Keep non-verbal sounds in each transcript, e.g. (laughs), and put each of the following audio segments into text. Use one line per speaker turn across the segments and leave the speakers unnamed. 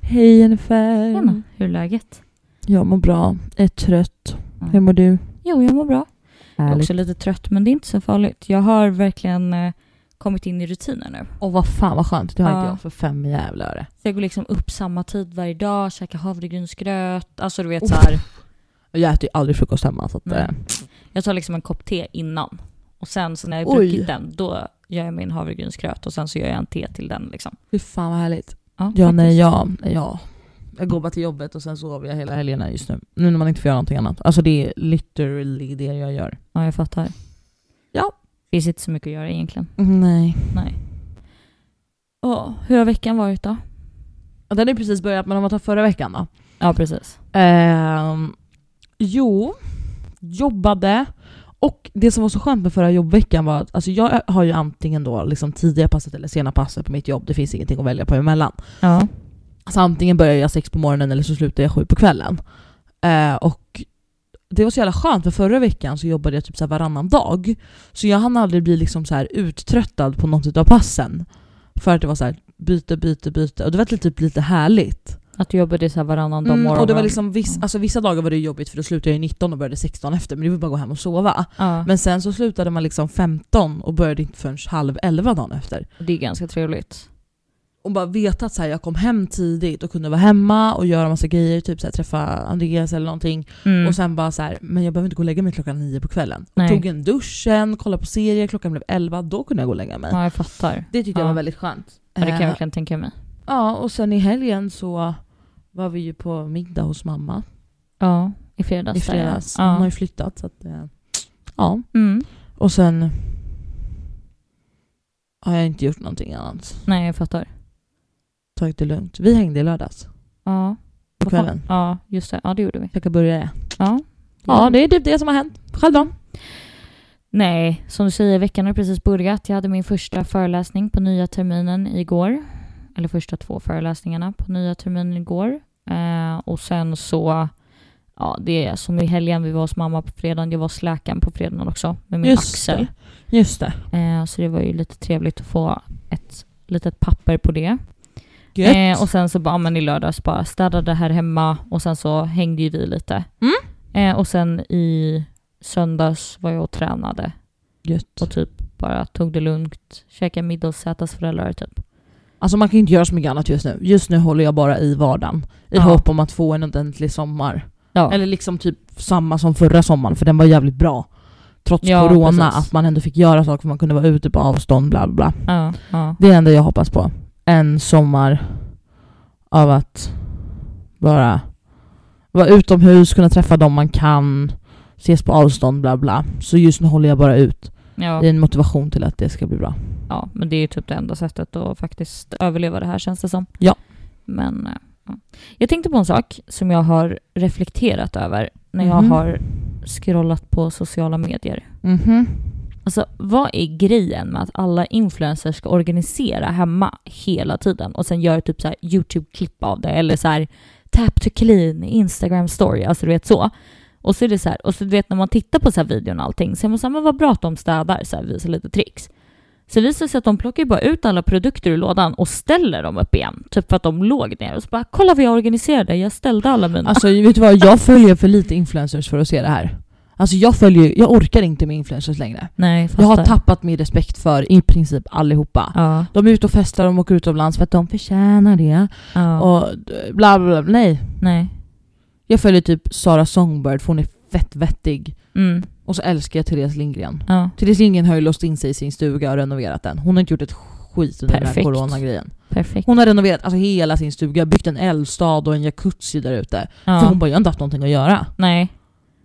Hej Jennifer.
Tjena, hur är läget?
Jag mår bra. Jag är trött.
Mm.
Hur mår du?
Jo, jag mår bra. Jag är också lite trött, men det är inte så farligt. Jag har verkligen eh, kommit in i rutiner nu.
Och vad fan vad skönt. Det har inte
Ja.
jag för fem jävla öre.
Så jag går liksom upp samma tid varje dag, käkar havregrynsgröt. Alltså du vet
Oh.
så här.
Och Jag äter ju aldrig frukost hemma så att...
Nej.
eh,
Jag tar liksom en kopp te innan. Och sen så när jag
Oj.
har druckit den, då gör jag min havregrynsgröt och sen så gör jag en te till den liksom.
Fy fan vad härligt.
Ja,
Ja,
faktiskt.
nej, jag, jag... Jag går bara till jobbet och sen sover jag hela helgerna just nu. Nu när man inte får göra någonting annat. Alltså det är literally det jag gör.
ja, jag fattar.
Ja.
Finns inte så mycket att göra egentligen.
Nej.
Nej. Ja, hur har veckan varit då?
Den har ju precis börjat men om man tar förra veckan då.
Ja, precis.
Ehm, jo, jobbade. Och det som var så skönt med förra jobbveckan var att alltså jag har ju antingen då liksom tidiga passet eller sena passet på mitt jobb. Det finns ingenting att välja på emellan.
Ja.
Alltså antingen börjar jag sex på morgonen eller så slutar jag sju på kvällen. Eh, och det var så jävla skönt för förra veckan så jobbade jag typ så här varannan dag. Så jag hann aldrig bli liksom så här uttröttad på något av passen. För att det var så här byte, byte, byte. Och det var typ lite härligt.
Att du jobbade så här varannan dag
Mm,
morgon.
och det var liksom viss,
Mm.
alltså, vissa dagar var det jobbigt för då slutade jag ju 19 och började 16 efter men det var bara att gå hem och sova.
ja.
Men sen så slutade man liksom 15 och började inte förrän halv 11 dagen efter.
Det är ganska trevligt.
Och bara veta att så här, jag kom hem tidigt och kunde vara hemma och göra massa grejer, typ så här, träffa Andreas eller någonting.
Mm.
Och sen bara så här, men jag behöver inte gå och lägga mig klockan 9 på kvällen.
Nej.
Tog en duschen, kollade på serier, klockan blev 11, då kunde jag gå och lägga mig.
ja, jag fattar.
Det tyckte jag
Ja.
var väldigt skönt.
Ja, det kan jag
Eh,
verkligen tänka mig.
ja, och sen i helgen så var vi ju på middag hos mamma.
Ja, i fredags. Mm.
i
där, ja.
fredags. Hon har
Ja.
ju flyttat så att, eh, ja.
Mm.
Och sen har jag inte gjort någonting annat.
Nej, jag fattar.
Tagit det lugnt. Vi hängde i lördags
Ja.
på
Vad fan-
kvällen.
Ja, just det. Ja, det gjorde vi.
Käkade burgare.
Ja.
Ja, det är typ det som har hänt. Själv då?
Nej, som du säger, veckan har precis börjat. Jag hade min första föreläsning på nya terminen igår. Eller första två föreläsningarna på nya terminen igår. Eh, och sen så, ja det är som i helgen, vi var hos mamma på fredagen. Jag var hos läkaren på fredagen också med min
Just
axel.
det. Just det.
Eh, så det var ju lite trevligt att få ett litet papper på det.
Gött.
Eh, och sen så bara, ja, men i lördags bara städade här hemma och sen så hängde ju vi lite.
Mm.
Eh, och sen i söndags var jag och tränade
Gött.
och typ bara tog det lugnt, käkade middag hos Zätas föräldrar typ.
Alltså man kan ju inte göra så mycket annat just nu. Just nu håller jag bara i vardagen. I
Ja.
hopp om att få en ordentlig sommar.
Ja,
Eller liksom typ samma som förra sommaren för den var jävligt bra. Trots
Ja,
corona,
precis.
att man ändå fick göra saker för man kunde vara ute på avstånd bla bla bla.
ja, ja.
Det är det enda jag hoppas på. En sommar av att bara vara utomhus, kunna träffa dem man kan, ses på avstånd, bla bla. Så just nu håller jag bara ut. Det
ja.
är en motivation till att det ska bli bra.
ja men det är ju typ det enda sättet att faktiskt överleva det här känns det som.
Ja.
Men eh, ja. jag tänkte på en sak som jag har reflekterat över när jag
Mhm.
har scrollat på sociala medier.
Mhm.
Alltså vad är grejen med att alla influencers ska organisera hemma hela tiden och sen göra typ så här YouTube-klipp av det eller så här tap to clean, Instagram story, alltså du vet så. Och så är det så här, och så du vet när man tittar på så här videon och allting så är man så här, men vad bra att de städar, så här visar lite tricks. Så det visar sig att de plockar ju bara ut alla produkter ur lådan och ställer dem upp igen, typ för att de låg ner och så bara kolla vad jag organiserade, jag ställde alla mina.
Alltså vet du vad, jag följer för lite influencers för att se det här. Alltså jag följer, jag orkar inte med influencers längre.
Nej, fattar.
Jag har tappat min respekt för i princip allihopa.
Ja,
De är ute och festar, de åker utomlands för att de förtjänar det.
ja,
Och eh, bla bla bla, nej.
nej.
Jag följer typ Sara Songbird för hon är fett vettig.
Mm,
Och så älskar jag Therese Lindgren.
ja,
Therese Lindgren har ju låst in sig i sin stuga och renoverat den. Hon har inte gjort ett skit under den
Perfekt.
här coronagrejen.
perfekt.
Hon har renoverat alltså, hela sin stuga, byggt en eldstad och en jacuzzi där ute. För
Ja,
hon bara, jag har inte haft någonting att göra.
nej.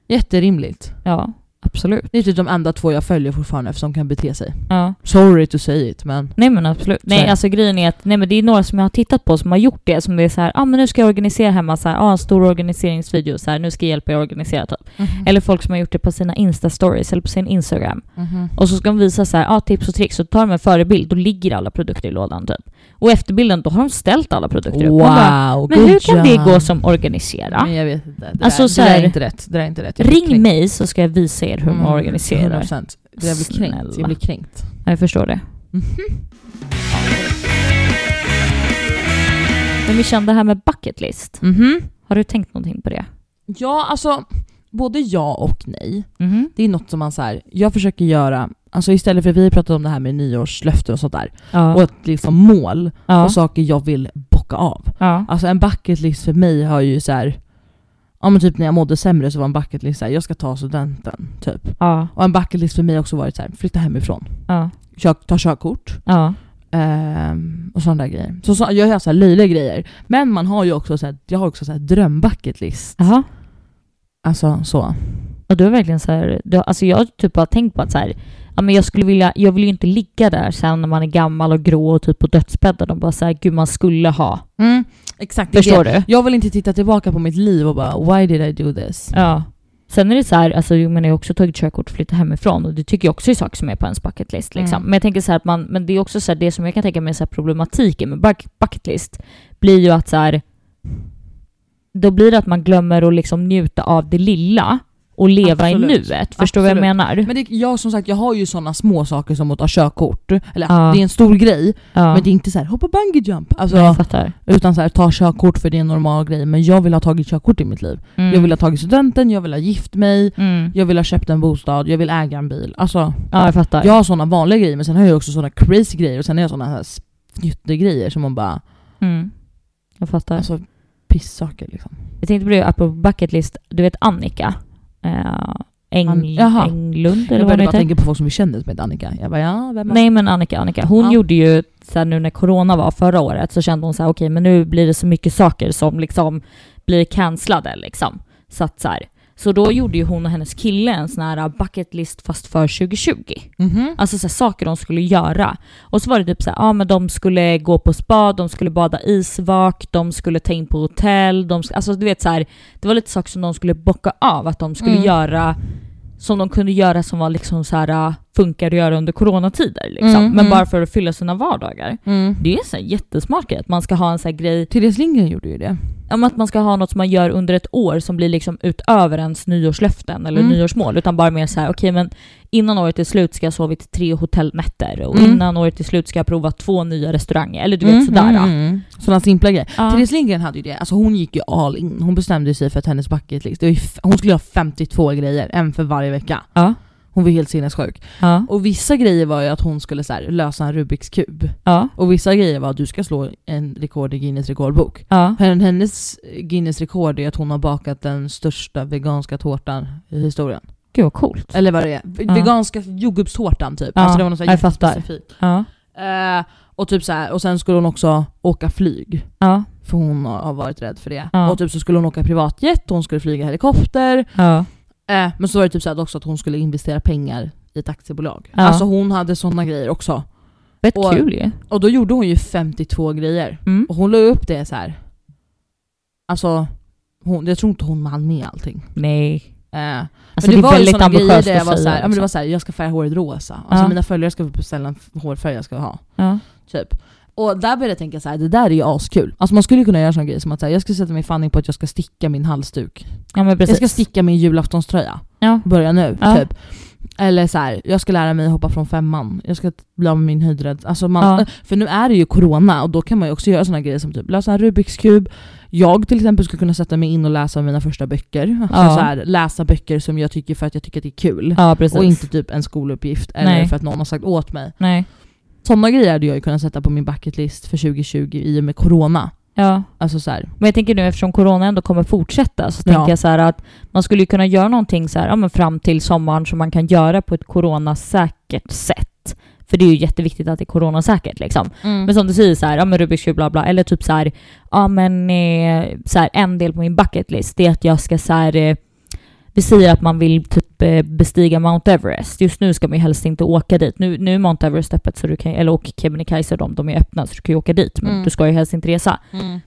Jätterimligt.
Ja, absolut.
Det är typ de enda två jag följer fortfarande som kan bete sig.
Ja.
Sorry to say it men...
Nej men absolut.
Så är
Nej
det.
alltså grejen är att nej, men det är några som jag har tittat på som har gjort det som det är så här, ja ah, men nu ska jag organisera hemma så här, ah, en stor organiseringsvideo så här, nu ska jag hjälpa er att organisera typ. Eller folk som har gjort det på sina Insta-stories eller på sin Instagram.
Mhm.
Och så ska de visa så här, ah, tips och tricks och tar de en förebild, då ligger alla produkter i lådan typ. Och efter bilden, då har de ställt alla produkter.
Wow,
Man bara, men
good
hur kan det
job.
gå som organisera?
Men jag vet inte. Det,
Alltså,
där,
så
det där
här-
är inte rätt. Det där är inte rätt. Jag blir
Ring
kränkt.
mig så ska jag visa er hur man
Mm,
organiserar.
100%. Det där blir kränkt. Jag
Snälla. Mhm.
blir kränkt.
Ja, jag förstår det.
Mhm.
Men Mishan, det här med bucket list.
Mhm.
Har du tänkt någonting på det?
Ja, alltså både ja och nej.
Mhm.
Det är något som man så här, jag försöker göra, alltså istället för vi har pratat om det här med nyårslöften och sånt där,
Ja.
och ett liksom mål
ja.
och saker jag vill bocka av.
ja.
Alltså en bucket list för mig har ju så här, ja men typ när jag mådde sämre så var en bucket list så här, jag ska ta studenten typ.
ja.
Och en bucket list för mig har också varit så här, flytta hemifrån,
ja.
kör, ta körkort
ja.
ehm, och sådana där grejer. Så, så jag gör så här löjliga grejer. Men man har ju också så här, jag har också så här drömbucket list.
Jaha.
Alltså så.
Och du är verkligen så här, du, alltså jag har typ bara tänkt på att så här, ja men jag skulle vilja, jag vill ju inte ligga där sen när man är gammal och grå och typ på dödsbädden och bara så här, gud man skulle ha.
exakt.
Förstår du?
Jag vill inte titta tillbaka på mitt liv och bara why did I do this?
Ja. Sen är det så här, alltså jag menar jag har också tagit körkort och flyttat hemifrån och det tycker jag också är saker som är på ens bucket list liksom.
Mm.
Men jag tänker så här att man, men det är också så här, det som jag kan tänka mig är så här problematiken med buck- bucket list blir ju att så här, då blir det att man glömmer att liksom njuta av det lilla och leva i
Absolut.
nuet. Förstår du vad jag
Absolut.
menar?
Men det, jag som sagt, jag har ju sådana små saker som att ta körkort. Eller
Ja.
det är en stor grej,
ja.
men det är inte så här hoppa bungee jump. Alltså,
Nej, jag fattar.
Utan så här, ta körkort för det är en normal grej. Men jag vill ha tagit körkort i mitt liv.
Mm.
Jag vill ha tagit studenten, jag vill ha gift mig,
Mm.
jag vill ha köpt en bostad, jag vill äga en bil. Alltså,
Ja, jag fattar.
jag har sådana vanliga grejer men sen har jag också sådana crazy grejer och sen har jag sådana här fnyttegrejer som man bara,
Mm. Jag fattar.
alltså pissaker liksom.
Jag tänkte på det apropå bucket list. Du vet Annika? Eh,
An-
Eng-
Jaha.
Englund eller
Jag
vad hon
började bara
heter?
tänka på folk som vi kände som hette Annika. Jag bara ja, vem
Nej men Annika, Annika. Hon
Ja.
gjorde ju så här, nu när corona var förra året så kände hon så här okej men nu blir det så mycket saker som liksom blir cancellade liksom. Så att så här. Så då gjorde ju hon och hennes kille en sån här bucket list fast för 2020.
Mhm.
Alltså så här, saker de skulle göra. Och så var det typ så här, ja men de skulle gå på spa, de skulle bada isvak, de skulle ta in på hotell, de skulle, alltså du vet så här, det var lite saker som de skulle bocka av att de skulle
Mm.
göra som de kunde göra som var liksom så här äh, funkar att göra under coronatider liksom.
Mm,
Men
mm.
bara för att fylla sina vardagar.
Mm.
Det är en så här jättesmart grej att man ska ha en så här grej,
Therese Lindgren gjorde ju det.
om att man ska ha något som man gör under ett år som blir liksom utöver ens nyårslöften eller
Mm.
nyårsmål utan bara mer så här, okej men innan året är slut ska jag ha sovit tre hotellnätter och
Mm.
innan året är slut ska jag prova två nya restauranger eller du vet
Mm,
sådär.
mm, mm. Sådana simpla grejer.
Ja.
Therese Lindgren hade ju det, alltså hon gick ju all in. Hon bestämde sig för att hennes bucket list, det var ju f- hon skulle ha 52 grejer, en för varje vecka.
Ja.
Hon var helt sinnessjuk.
Ja.
Och vissa grejer var ju att hon skulle så här, lösa en Rubiks kub.
Ja.
Och vissa grejer var att du ska slå en rekord i Guinness rekordbok.
Ja.
Hen- Hennes Guinness rekord är att hon har bakat den största veganska tårtan i historien.
Gud vad coolt.
Eller vad det är. V-
Ja.
Veganska jordgubbstårtan typ.
Ja,
Alltså det var något så här
jag fattar.
jättespecifikt.
Ja.
Eh, och, typ så här, och sen skulle hon också åka flyg.
Ja.
För hon har har varit rädd för det.
Ja.
Och typ så skulle hon åka privatjet, hon skulle flyga helikopter.
Ja.
Eh, men så var det typ så här också att hon skulle investera pengar i ett aktiebolag.
Ja.
Alltså hon hade sådana grejer också.
Fett
Och-
kul ju.
Och då gjorde hon ju 52 grejer.
Mm.
Och hon la ju upp det så här. Alltså, hon, jag tror inte hon hann med allting.
Nej.
Eh,
Alltså det,
men
är
ju
väldigt
såna grejer
ambitiöst
där jag
att
var så
säga.
här, ja, men det var så här, jag ska färga håret rosa. Alltså
Ja.
mina följare ska beställa en f- hårfärg jag ska ha.
ja.
Typ. Och där började jag tänka så här, det där är ju askul. Alltså man skulle ju kunna göra sån grej som att så här, jag ska sätta min fanning på att jag ska sticka min halsduk.
ja men
Jag
precis.
ska sticka min julaftonströja.
Ja.
Börja nu,
Ja.
typ. Eller så här, jag ska lära mig hoppa från femman. Jag ska bli av med min höjdrädd. Alltså man,
Ja.
För nu är det ju corona och då kan man ju också göra såna grejer som typ lösa en Rubiks kub. Jag till exempel skulle kunna sätta mig in och läsa mina första böcker. Alltså
Ja.
så här, läsa böcker som jag tycker för att jag tycker att det är kul.
Ja precis.
Och inte typ en skoluppgift eller
Nej.
för att någon har sagt åt mig.
Nej.
Sådana grejer hade jag ju kunnat sätta på min bucket list för 2020 i och med corona.
Ja.
Alltså så här,
Men jag tänker nu eftersom corona ändå kommer fortsätta så
Ja.
tänker jag så här att man skulle ju kunna göra någonting så här, ja, men fram till sommaren som man kan göra på ett coronasäkert sätt. För det är ju jätteviktigt att det är coronasäkert liksom.
Mm.
Men som du säger så här, ja men Rubiks kub bla bla, eller typ så här, ja men eh, så här, en del på min bucket list det är att jag ska så här, eh, vi säger att man vill typ eh, bestiga Mount Everest. Just nu ska man ju helst inte åka dit. Nu, nu är Mount Everest öppet, så du kan, eller och Kebnekaise och de, de är öppna så du kan ju åka dit men
Mm.
du ska ju helst inte resa.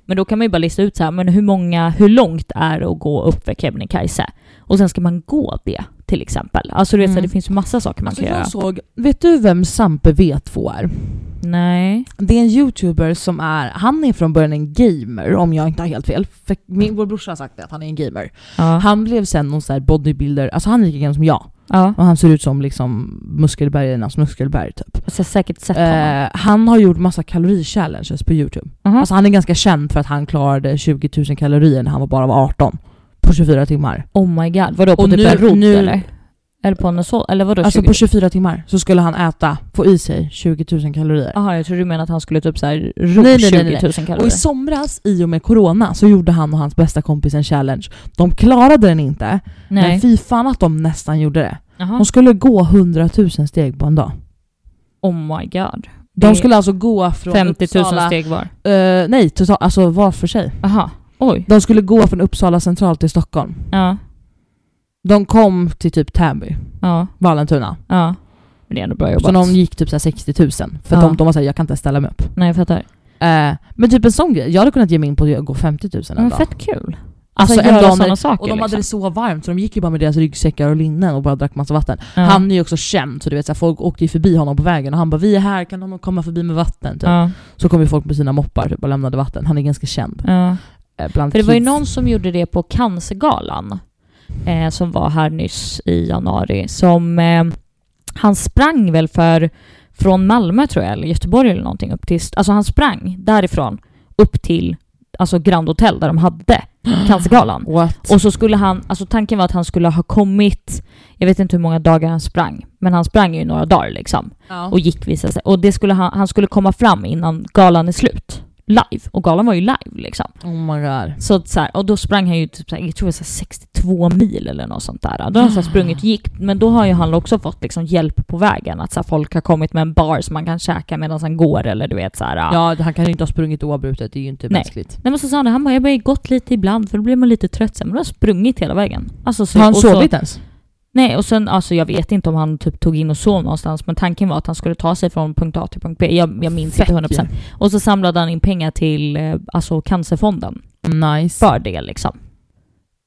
Men då kan man ju bara lista ut så här, men hur många, hur långt är det att gå upp för Kebnekaise? Och sen ska man gå det till exempel. Alltså du vet så här,
Mm.
det finns ju massa saker man
Alltså
kan göra.
jag såg, vet du vem Sampe V2 är?
Nej.
Det är en youtuber som är, han är från början en gamer om jag inte har helt fel. För min, vår brorsa har sagt det, att han är en gamer.
Ja.
Han blev sen någon så här bodybuilder, alltså han är lika gammal som jag.
Ja.
Och han ser ut som liksom muskelbergarnas muskelberg typ.
Så jag har säkert sett honom.
Eh, han har gjort massa kalorichallenges på youtube.
Mhm.
Alltså han är ganska känd för att han klarade 20 000 kalorier när han var bara var 18. På 24 timmar.
oh my god. Vadå på
och
typ
nu-
en rot
nu-
eller? Eller på en så? Eller vadå?
Alltså
20?
på 24 timmar så skulle han äta, få i sig 20 000 kalorier.
Jaha, jag trodde du menade att han skulle typ såhär ro
Nej, nej,
20
nej,
000
nej.
kalorier.
Och i somras, i och med corona, så gjorde han och hans bästa kompis en challenge. De klarade den inte, men
nej.
fy fan att de nästan gjorde det.
Jaha.
De skulle gå 100 000 steg på en dag.
Oh my god. Det är
De skulle alltså gå från
50 000
Uppsala...
steg var.
Eh, nej, totalt, alltså var för sig.
Jaha. Oj.
De skulle gå från Uppsala central till Stockholm.
Ja.
De kom till typ Täby,
Ja.
Vallentuna.
Ja. Men det är ändå bra jobbat.
Så de gick typ så här 60 000. För
Ja.
de, de var såhär, jag kan inte ställa mig upp.
Nej jag fattar.
Eh, men typ en sån grej. Jag hade kunnat ge mig in på att gå 50 000 en
Men
dag.
fett kul. Alltså,
Alltså, en
göra
dag när-
sådana saker
Och de hade det
liksom.
så varmt så de gick ju bara med deras ryggsäckar och linnen och bara drack massa vatten.
Ja.
Han är ju också känd så du vet så här, folk åkte ju förbi honom på vägen och han bara vi är här, kan någon komma förbi med vatten? Typ.
Ja.
Så kom ju folk med sina moppar typ, och lämnade vatten. Han är ganska känd.
Ja.
eh, Bland
För det var ju
kids.
någon som gjorde det på Cancergalan eh, som var här nyss i januari. Som, eh, han sprang väl för från Malmö tror jag, eller Göteborg eller någonting upp till... Alltså han sprang därifrån upp till alltså Grand Hotel där de
(gasps)
hade Cancergalan.
What?
Och så skulle han, alltså tanken var att han skulle ha kommit, jag vet inte hur många dagar han sprang, men han sprang ju några dagar liksom.
ja.
Och gick visade sig. Och det skulle han, han skulle komma fram innan galan är slut. Live. Och galan var ju live liksom.
oh my god.
Så att så här, och då sprang han ju typ så här, jag tror det var så här 62 mil eller något sånt där. Då har han så här sprungit och gick, men då har ju han också fått liksom hjälp på vägen. Att så här, folk har kommit med en bar som man kan käka medan han går eller du vet så här.
Ja, han kan ju inte ha sprungit oavbrutet, det är ju inte
Nej.
mänskligt.
Nej men så sa han det, han bara jag har ju gått lite ibland för då blir man lite trött sen. Men då har jag sprungit hela vägen. Alltså, så,
Har han
och så-
sovit ens?
Nej, och sen alltså jag vet inte om han typ tog in och sov någonstans, men tanken var att han skulle ta sig från punkt A till punkt B. Jag, jag minns
Fett
inte 100%. Och så samlade han in pengar till eh, alltså cancerfonden
Nice.
för det liksom.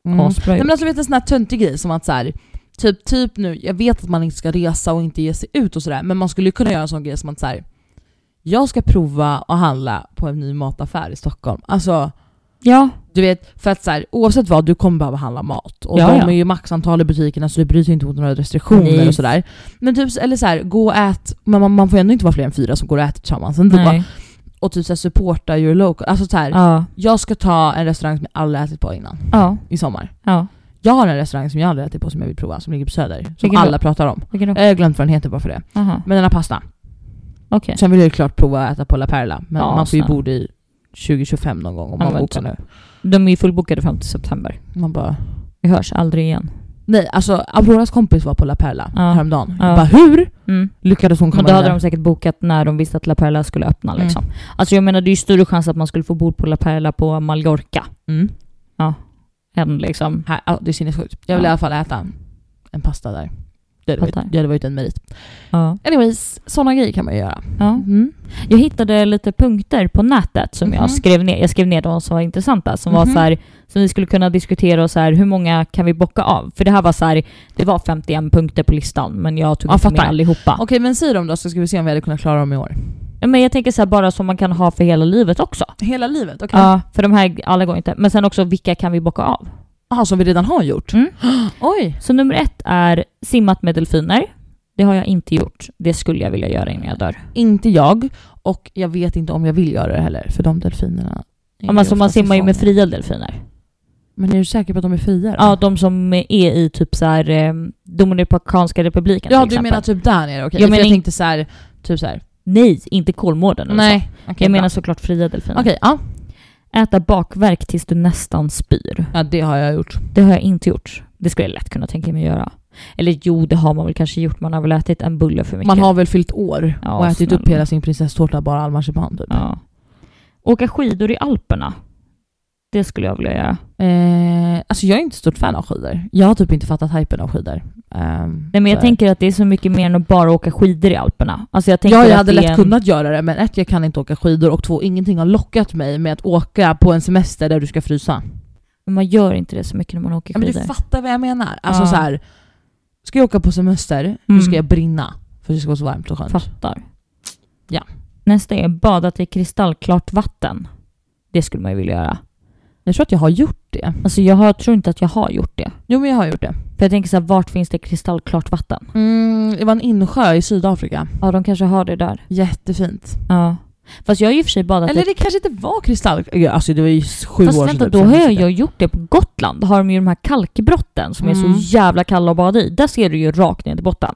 Mm.
Asbra
Nej,
gjort.
men alltså, du vet en sån här töntig grej som att så här, typ, typ nu, jag vet att man inte ska resa och inte ge sig ut och sådär, men man skulle ju kunna göra en sån grej som att så här, jag ska prova att handla på en ny mataffär i Stockholm. Alltså,
Ja,
du vet, för att så här, oavsett vad, du kommer behöva handla mat. Och
Ja,
de
ja.
är ju maxantal i butikerna så du bryr dig inte mot några restriktioner
Nej.
och sådär. Men typ, eller så här, gå och ät, men man, man får ju ändå inte vara fler än fyra som går och äter tillsammans ändå.
nej.
Och typ så här, supporta your local. Alltså så här,
Ja.
jag ska ta en restaurang som jag aldrig ätit på innan
Ja.
i sommar.
Ja.
Jag har en restaurang som jag aldrig ätit på som jag vill prova, som ligger på Söder. Som
Vilken då?
alla pratar om.
Vilken då?
Jag har glömt vad den heter bara för det.
Aha.
Men den har pasta.
Okej.
Sen vill jag ju klart prova att äta på La Perla. Men
Ja,
man får ju
snälla.
bo där i 2025 någon gång om
Ja,
man
men
bokar
typ.
nu.
De är ju fullbokade fram till september.
Man bara...
Vi hörs aldrig igen.
Nej, alltså Auroras kompis var på La Perla
Ja.
häromdagen.
Ja.
Jag bara hur
Mm.
lyckades hon komma
Men då hade
vidare?
de säkert bokat när de visste att La Perla skulle öppna liksom. Alltså jag menar det är ju större chans att man skulle få bord på La Perla på Mallorca
Mm.
än liksom...
Här, ja, det är sinnessjukt. Jag vill
Ja.
i alla fall äta en pasta där. Det hade, varit,
Fattar.
det hade varit en merit.
Ja.
Anyways, sådana grejer kan man ju göra.
ja.
Mm.
Jag hittade lite punkter på nätet som
Mhm.
jag skrev ner. Jag skrev ner de som var intressanta, som var
Mhm.
så här, som vi skulle kunna diskutera och så här, hur många kan vi bocka av? För det här var så här, det var 51 punkter på listan, men jag tog
Ja,
inte med
fattar.
allihopa.
Okej men säg dem då så ska vi se om vi hade kunnat klara dem i år.
Ja, Men jag tänker så här, bara som man kan ha för hela livet också.
Hela livet? Okej.
Ja, för de här, alla går inte. Men sen också, vilka kan vi bocka av?
Jaha, som vi redan har gjort?
Mm.
(gasps) Oj!
Så nummer ett är simmat med delfiner. Det har jag inte gjort. Det skulle jag vilja göra innan jag dör.
Inte jag. Och jag vet inte om jag vill göra det heller, för de delfinerna... är
Ja, men så man
oftast i
simmar ju med
fången.
fria delfiner.
Men är du säker på att de är fria då?
Ja, de som är i typ så här eh, Dominikanska republiken
ja
till
du
exempel.
menar typ där nere? Okej,
Jag
jag,
menar
jag
in-
tänkte så här, typ så här.
Nej, inte Kolmården eller så.
Nej. Okej,
jag
bra.
menar såklart fria delfiner.
Okej, ja.
Äta bakverk tills du nästan spyr.
ja. det har jag gjort.
Det har jag inte gjort. Det skulle jag lätt kunna tänka mig göra. Eller jo, det har man väl kanske gjort. Man har väl ätit en bulle för mycket.
Man har väl fyllt år
Ja,
och ätit upp
snälla.
hela sin prinsesstårta bara all marsipan typ.
Ja. Åka skidor i Alperna. Det skulle jag vilja göra.
Eh, alltså jag är inte stort fan av skidor. Jag har typ inte fattat hypen av skidor. Ehm,
Nej, men jag
så-
tänker att det är så mycket mer än att bara åka skidor i Alperna. Alltså jag tänker
Ja, jag
att
hade
det är
lätt
en...
kunnat göra det, men ett, jag kan inte åka skidor och två, ingenting har lockat mig med att åka på en semester där du ska frysa.
Men man gör inte det så mycket när man åker
Ja, men du
skidor.
fattar vad jag menar. Alltså
Ja.
så här, ska jag åka på semester, då
Mm.
ska jag brinna. För det ska vara så varmt och skönt.
Fattar.
Ja.
Nästa är badat i kristallklart vatten. Det skulle man ju vilja göra.
Jag tror att jag har gjort det.
Alltså jag har, tror inte att jag har gjort det.
Jo men jag har gjort det.
För jag tänker så här, vart finns det kristallklart vatten?
Mm, det var en insjö i Sydafrika.
Ja, de kanske har det där.
Jättefint.
Ja. Fast jag har ju i och för sig badat
Eller
i...
det kanske inte var kristall... Ja, Alltså det var ju sju
Fast
år
vänta,
typ,
då
så
har jag
kanske
ju gjort det på Gotland. Har de ju de här kalkbrotten som är
Mm.
så jävla kalla att bada i. Där ser du ju rakt ner till botten.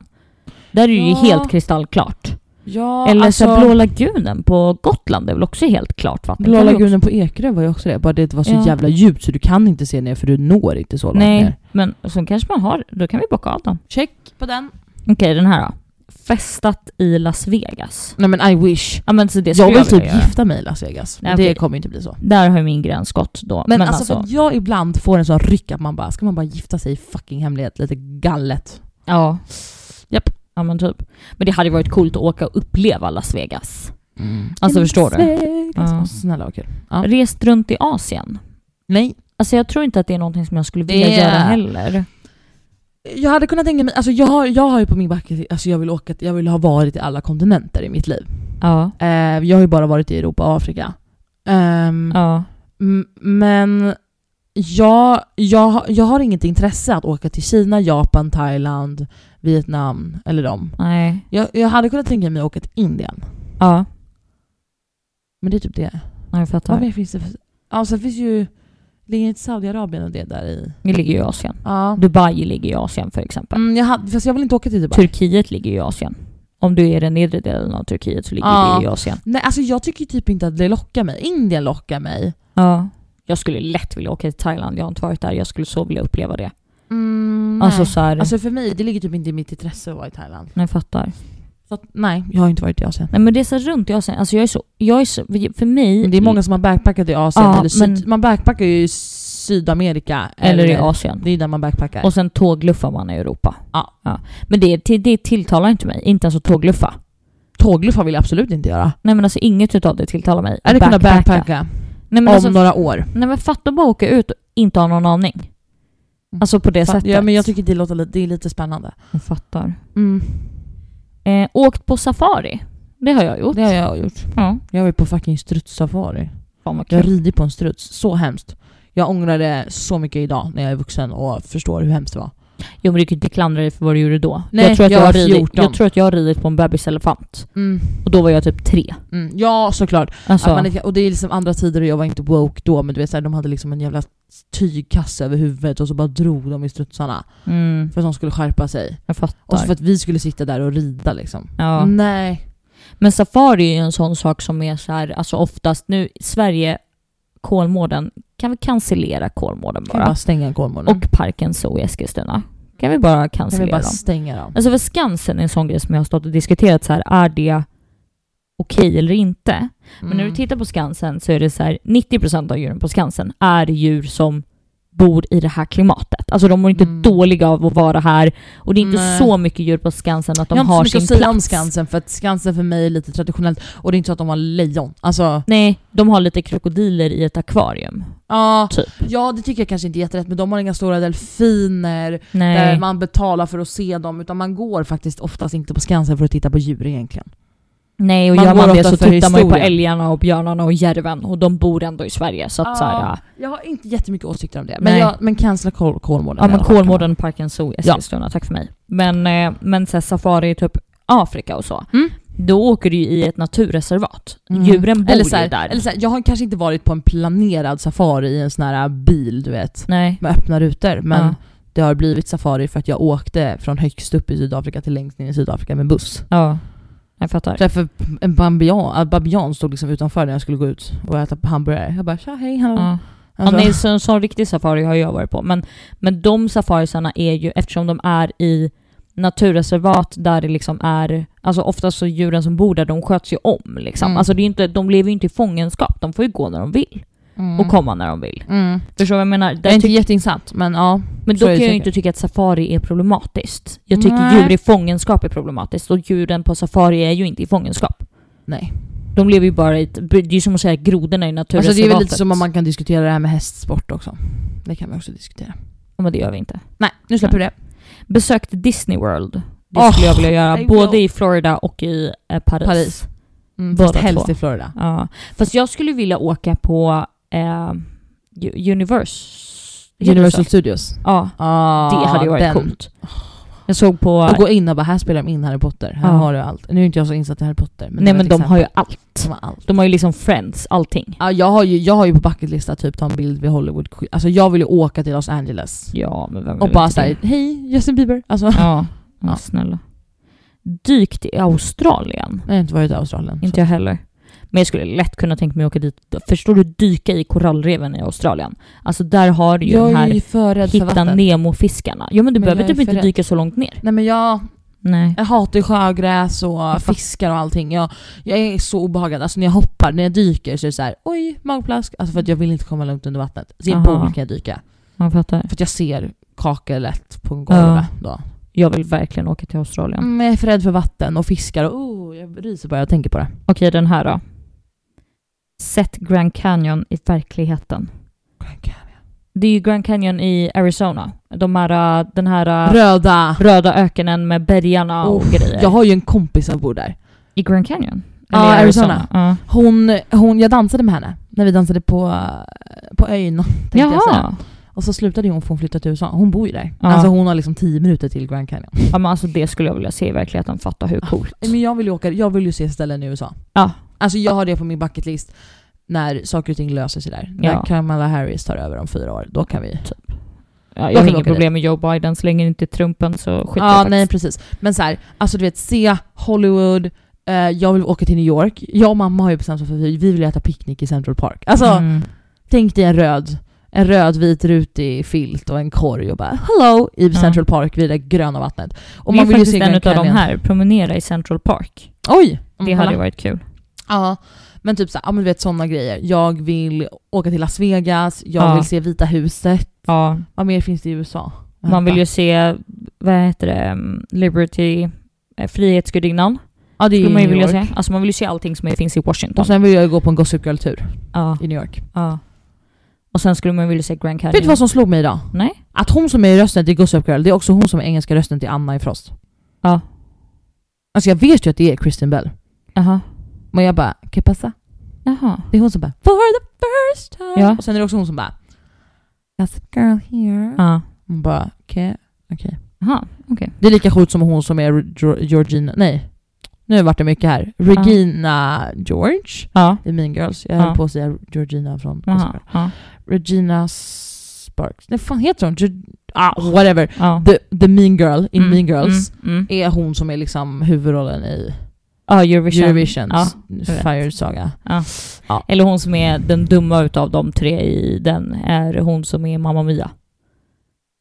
Där är det ju
Ja.
helt kristallklart.
inte- Ja,
Eller
alltså,
så här Blå lagunen på Gotland är väl också helt klart vatten?
Blå
Kan vi
lagunen på Ekerö var ju också det. Bara det var så
Ja.
jävla djupt så du kan inte se ner för du når inte så
också-
långt ner.
Nej, men så kanske man har. Då kan vi bocka av dem.
Check på den.
Okej, den här då. Festat i Las Vegas.
Nej men I wish.
Ja men så det skulle
Jag
jag,
vill typ
vilja göra.
gifta mig i Las Vegas. Men
Nej,
Det
okej.
kommer ju inte bli så.
Där har ju min gräns gått då.
Men, alltså, för att jag ibland får en sån ryck att man bara, ska man bara gifta sig i fucking hemlighet? Lite gallet.
Ja.
Japp.
Ja men typ. Men det hade ju varit coolt att åka och uppleva Las Vegas.
Mm.
Alltså, förstår du?
Vegas.
Ja.
Snälla och kul. Ja.
Rest runt i Asien.
Nej.
Alltså jag tror inte att det är någonting som jag skulle vilja
Det-
göra heller.
Jag hade kunnat tänka mig, alltså jag, har- jag har ju på min bucket, alltså jag vill åka, till- jag vill ha varit i alla kontinenter i mitt liv.
Ja.
Eh, jag har ju bara varit i Europa och Afrika. Ehm,
Ja.
m- Men jag, jag, har- jag har inget intresse att åka till Kina, Japan, Thailand, Vietnam eller dem.
Nej.
Jag, jag hade kunnat tänka mig att åka till Indien.
Ja.
Men det är typ det.
Ja, jag
Vad
fattar.
mer finns det för... Ja, sen finns ju... Ligger inte Saudiarabien och det där i?
Det ligger ju i Asien.
Ja.
Dubai ligger i Asien för exempel.
Mm, jag hade, fast jag vill inte åka till Dubai.
Turkiet ligger ju i Asien. Om du är i den nedre delen av Turkiet så ligger
Ja.
det i Asien.
Nej, alltså jag tycker ju typ inte att det lockar mig. Indien lockar mig.
Ja. Jag skulle lätt vilja åka till Thailand, jag har inte varit där. Jag skulle så vilja uppleva det.
Mm,
Alltså
nej.
så här,
alltså för mig, det ligger typ inte i mitt intresse att vara i Thailand.
jag fattar.
Så att, nej, jag har inte varit i Asien.
Nej men resa runt i Asien, alltså jag är så, jag är så för mig...
Men det är många som har backpackat i Asien.
Ja,
eller syd,
men-
Man backpackar ju i Sydamerika.
Eller i Asien.
Det är ju där man backpackar.
Och sen tågluffar man i Europa.
Ja.
Men det, till- det tilltalar inte mig, inte ens att tågluffa.
tågluffa vill jag absolut inte göra.
Nej men alltså inget utav det tilltalar mig.
Eller kunna
Backpacka.
backpacka
Nej men,
om
alltså,
några år.
nej men fatta bara åka ut och inte ha någon aning. Alltså på det
Mm. Fa-
sättet.
Ja, men jag tycker det, låter, lite- det är lite spännande.
jag fattar.
Mm.
Eh, åkt på safari. Det har jag gjort.
Det har jag gjort.
Ja.
Jag var ju på fucking strutssafari.
Fan vad
Jag har
kul.
ridit på en struts, så hemskt. Jag ångrar det så mycket idag när jag är vuxen och förstår hur hemskt det var.
Jo men du kan ju inte klandra dig för vad du gjorde då.
Nej,
jag, tror att
jag
jag, har
var
ridit,
14.
jag tror att jag har ridit på en bebiselefant. Och då var jag typ tre.
Mm. Ja såklart.
Alltså,
Att man inte, och det är liksom andra tider och jag var inte woke då men du vet så här, de hade liksom en jävla tygkasse över huvudet och så bara drog de i strutsarna.
mm,
För att de skulle skärpa sig.
jag fattar.
Och så för att vi skulle sitta där och rida liksom.
ja.
Nej.
Men safari är ju en sån sak som är så här, alltså oftast nu, Sverige, Kolmården, kan vi cancellera Kolmården
Kan vi bara
bara?
stänga Kolmården.
Och Parken Zoo i Eskilstuna. Kan vi bara
Kan vi
cancellera
bara
dem?
stänga dem.
Alltså för Skansen är en sån grej som jag har stått och diskuterat så här, är det okej eller inte? Men när du
Mm.
tittar på Skansen så är det så här, 90% av djuren på Skansen är djur som bor i det här klimatet. Alltså de mår inte
Mm.
dåliga av att vara här och det är inte
Nej.
så mycket djur på Skansen att de
jag har
har
inte så mycket
sin
att säga om
plats.
Skansen för att Skansen för mig är lite traditionellt och det är inte så att de har lejon. Alltså,
Nej, de har lite krokodiler i ett akvarium.
ja,
Typ.
ja det tycker jag kanske inte är jätterätt men de har inga stora delfiner där
Nej.
man betalar för att se dem utan man går faktiskt oftast inte på Skansen för att titta på djur egentligen.
Nej, och
man
gör
går
man det
ofta
så
för
tittar man ju på
historien.
älgarna och björnarna och järven och de bor ändå i Sverige. Så att så här, ja.
Jag har inte jättemycket åsikter om det men,
Nej.
jag, men cancella Kol- Kolmården.
ja
i
men
alla fall.
Kolmården, Parken Zoo, Eskilstuna, tack för mig. Men, eh, men så här, safari i typ Afrika och så.
Mm.
Då åker du ju i ett naturreservat.
Mm.
Djuren bor
eller så här,
ju där.
Eller så här, jag har kanske inte varit på en planerad safari i en sån här bil du vet
Nej.
med öppna rutor men
Ja.
det har blivit safari för att jag åkte från högst upp i Sydafrika till längst ner i Sydafrika med buss.
Ja, jag fattar.
träffade en bambian, en babian stod liksom utanför när jag skulle gå ut och äta hamburgare. Jag bara tja hej hallå.
Ja. Ja,
Alltså,
nej, så, en sån riktig safari har jag varit på. Men, men de safarisarna är ju, eftersom de är i naturreservat där det liksom är, alltså oftast så djuren som bor där de sköts ju om liksom.
Mm.
Alltså det är ju inte, de lever ju inte i fångenskap, de får ju gå när de vill
mm.
och komma när de vill.
Mm.
Förstår du vad jag menar? Där
Jag är inte
tyck-
jätteinsatt men ja.
men
så
då
är
kan
det
jag ju
säkert.
inte tycka att safari är problematiskt. Jag tycker
Nej.
djur i fångenskap är problematiskt och djuren på safari är ju inte i fångenskap.
Nej.
De lever ju bara i ett, det är ju som att säga att grodorna i
Alltså
naturreservatet.
det är väl lite som om man kan diskutera det här med hästsport också. Det kan vi också diskutera.
Ja, Men det gör vi inte.
Nej, nu släpper vi det.
besökte Disney World. Det
Åh,
skulle jag vilja göra,
I
både
will.
i Florida och i eh, Paris.
Paris. Mm,
Båda
fast helst
två.
i Florida.
Ja. Fast jag skulle vilja åka på eh, Ju- Universe. heter det så?
Universal Studios.
Ja,
Ah,
det hade ju varit
den.
coolt. Jag såg på...
Och gå in och bara här spelar de in Harry Potter, här
Ja.
har du allt. Nu är inte jag så insatt i Harry Potter. Men
nej
det var
men
ett
de har
exempel.
ju allt.
De har allt.
De har ju liksom Friends, allting.
Ja, jag, har ju, jag har ju på bucketlista typ ta en bild vid Hollywood. Quiz. Alltså jag vill ju åka till Los Angeles.
Ja, men vem
Och
vill
bara
inte
såhär, (laughs)
det?
hej Justin Bieber. Alltså, (laughs)
Ja,
Ja.
ja, snälla. Dykt i Australien.
jag har inte varit i Australien.
Inte jag heller. Men jag skulle lätt kunna tänka mig att åka dit. Förstår du, dyka i korallreven i Australien. Alltså där har du ju
jag
den
är
här
ju för rädd för
hitta
vatten.
Nemo-fiskarna. Ja men du
Men
behöver
jag är
typ
för
inte
rädd.
dyka så långt ner.
Nej men jag,
Nej.
jag hatar ju sjögräs och
fattar.
fiskar och allting. Jag, jag är så obehagad. Alltså när jag hoppar, när jag dyker så är det såhär oj, magplask. Alltså för att jag vill inte komma långt under vattnet. Så jag
Aha.
borde kan jag dyka.
Man fattar.
För att jag ser kakelet på golvet då.
Jag vill verkligen åka till Australien.
Mm, jag är för rädd för vatten och fiskar och oh, jag ryser bara jag tänker på det.
Okej, den här då. Sätt Grand Canyon i verkligheten. Det är ju Grand Canyon i Arizona. De här, äh, den här äh,
Röda!
röda öknen med bergarna och
Uff,
grejer.
Jag har ju en kompis som bor där.
I Grand Canyon?
Ja,
Eller i
Arizona.
Ja.
Hon, hon, jag dansade med henne när vi dansade på, eh, på ön. Tänkte jag säga.
Jaha!
Och så slutade hon för hon flyttade till USA. Hon bor ju där.
Ja.
Alltså hon har liksom tio minuter till Grand Canyon.
Ja, men alltså det skulle jag vilja se i verkligheten. Fatta
Ah,
hur coolt.
Men jag vill ju, åka, jag vill ju se ställen i USA.
Ja.
Alltså jag har det på min bucket list. När saker och ting löser sig där.
Ja.
När Kamala Harris tar över om fyra år, då kan vi...
Ja,
Jag
jag har
vill
inget
åka dit.
problem med Joe Biden så länge det inte är Trumpen så skiter
Ja,
jag
nej
faktiskt.
precis. Men så här, alltså du vet, se Hollywood, eh, jag vill åka till New York. Jag och mamma har ju bestämt oss för att vi vi vill äta picknick i Central Park. Alltså,
Mm.
tänk dig en röd, en röd vit rutig filt och en korg och bara hello i Central Park vid det gröna vattnet. Och
det är
man vill ju se
faktiskt en
Grand
utav de
Canyon.
här, promenera i Central Park.
Oj!
Det
Mm,
hade ju
kolla.
varit kul.
Ja, men typ så här, ja men du vet sådana grejer. Jag vill åka till Las Vegas, jag
Ja.
vill se Vita huset.
Ja,
Vad mer finns det i USA?
man vill ju se, vad heter det, um, Liberty, eh, Frihetsgudinnan.
Ja det är
Skulle man ju
ju New
vilja
York.
se. Alltså man vill ju se allting som finns i Washington.
Och sen vill jag ju gå på en Gossip Girl-tur
ja,
i New York.
ja. Och sen skulle man vilja se Grand Canyon.
Vet du vad som slog mig idag?
Nej.
Att hon som är rösten till Gossip Girl, det är också hon som är engelska rösten till Anna i Frost.
Ja.
Alltså jag vet ju att det är Kristen Bell.
Jaha.
Men jag bara, que pasa?
Jaha.
Det är hon som bara, for the first time.
Ja.
Och sen är det också hon som bara, Gossip Girl here.
Ja.
Hon bara, okej. okej.
Jaha.
Det är lika sjukt som hon som är Geo- Georgina, nej. Nu vart det mycket här. Regina George
Ja.
i Mean Girls. Jag
Ja.
höll på att säga Georgina från Gossip
Jaha.
Girl.
Ja.
Regina Sparks. Nej fan heter hon? Ge- ah, whatever.
Ja.
The, the Mean Girl in
Mm,
Mean Girls.
Mm. Mm.
är hon som är liksom huvudrollen i
Ja, Eurovision.
Eurovisions
Ja. vet.
Fire Saga.
Eller hon som är den dumma utav de tre i den, är hon som är Mamma Mia.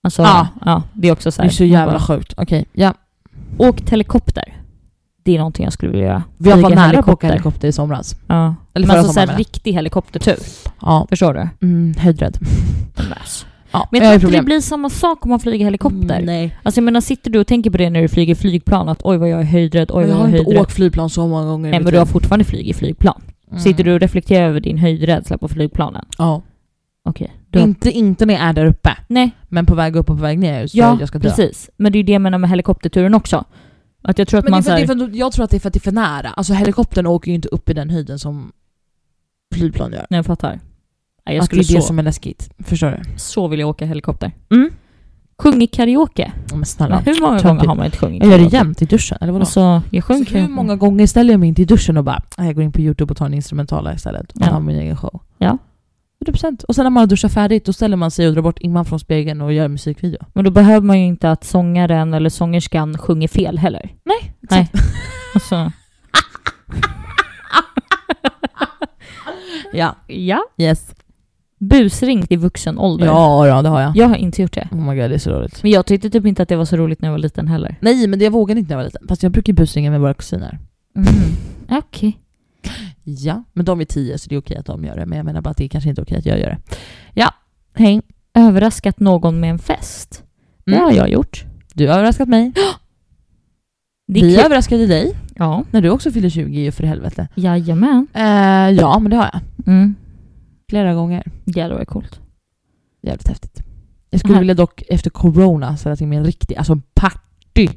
Alltså,
Ja.
ja. det är också så
Det
här.
är så jävla sjukt. Okej, ja.
Åkt helikopter. Det är någonting jag skulle vilja göra.
Jag var
Flyga
nära på att åka helikopter i somras.
Ja.
Eller
Eller
förra
Men alltså
sommaren,
så
menar
här,
jag.
riktig helikoptertur.
Ja,
Förstår du?
mm, höjdrädd. Ja,
Men jag tror inte det blir samma sak om man flyger helikopter.
Mm, nej.
Alltså jag menar, sitter du och tänker på det när du flyger flygplan? Att oj vad jag är höjdrädd, oj
Men
vad
jag har
jag är
inte
höjdrädd.
åkt flygplan så många gånger i
Nej
mitt
men du har
liv.
fortfarande flugit flygplan.
Mm.
Sitter du och reflekterar över din höjdrädsla på flygplanen?
Ja.
Okej. Du har-
Inte, inte när jag är där uppe,
Nej,
men på väg upp och på väg ner så
Ja,
jag ska dö.
precis. Men det är ju det jag menar med helikopterturen också. Att jag tror att
Men det är
man
för, det är
såhär...
för, jag tror att det är för att det är för nära. Alltså helikoptern åker ju inte upp i den höjden som flygplan gör.
Nej, jag fattar. Nej, jag
att det
skulle
är
så,
det som är läskigt. Förstår du?
så vilja åka helikopter.
Mm.
Sjungit karaoke.
Ja, men snälla.
Men Hur många
töntigt.
gånger har man inte sjungit
Jag gör det jämt i duschen, eller vadå?
Alltså, jag sjöng
Alltså, hur
karaoke.
många gånger ställer jag mig inte i duschen och bara "Nej, jag går in på youtube och tar en instrumentala istället och
Ja.
har min egen show?
Ja.
100%. Och sen när man har duschat färdigt då ställer man sig och drar bort imman från spegeln och gör en musikvideo.
Men då behöver man ju inte att sångaren eller sångerskan sjunger fel heller.
Nej,
Nej. (laughs) Alltså,
Ja.
ja.
Yes.
Busringt i vuxen ålder.
Ja, ja, det har jag.
Jag har inte gjort det.
Oh my god, det är så roligt.
Men jag tyckte typ inte att det var så roligt när jag var liten heller.
Nej, men det jag vågade inte när jag var liten. Fast jag brukar busringa med våra kusiner.
Mm. Okej.
Ja, men de är tio så det är okej att de gör det. Men jag menar bara att det är kanske inte är okej att jag gör det. Ja, hej.
Överraskat någon med en fest.
Mm.
Det har jag gjort.
Du har överraskat mig.
Det är
Vi
kul.
överraskade dig
Ja.
när du också fyllde 20 ju för helvete.
Jajamän.
Eh, ja, men det har jag.
Mm.
Flera gånger.
Ja, det var coolt.
Jävligt häftigt. Jag skulle
Här.
vilja dock efter corona ställa till med en riktig, alltså en party.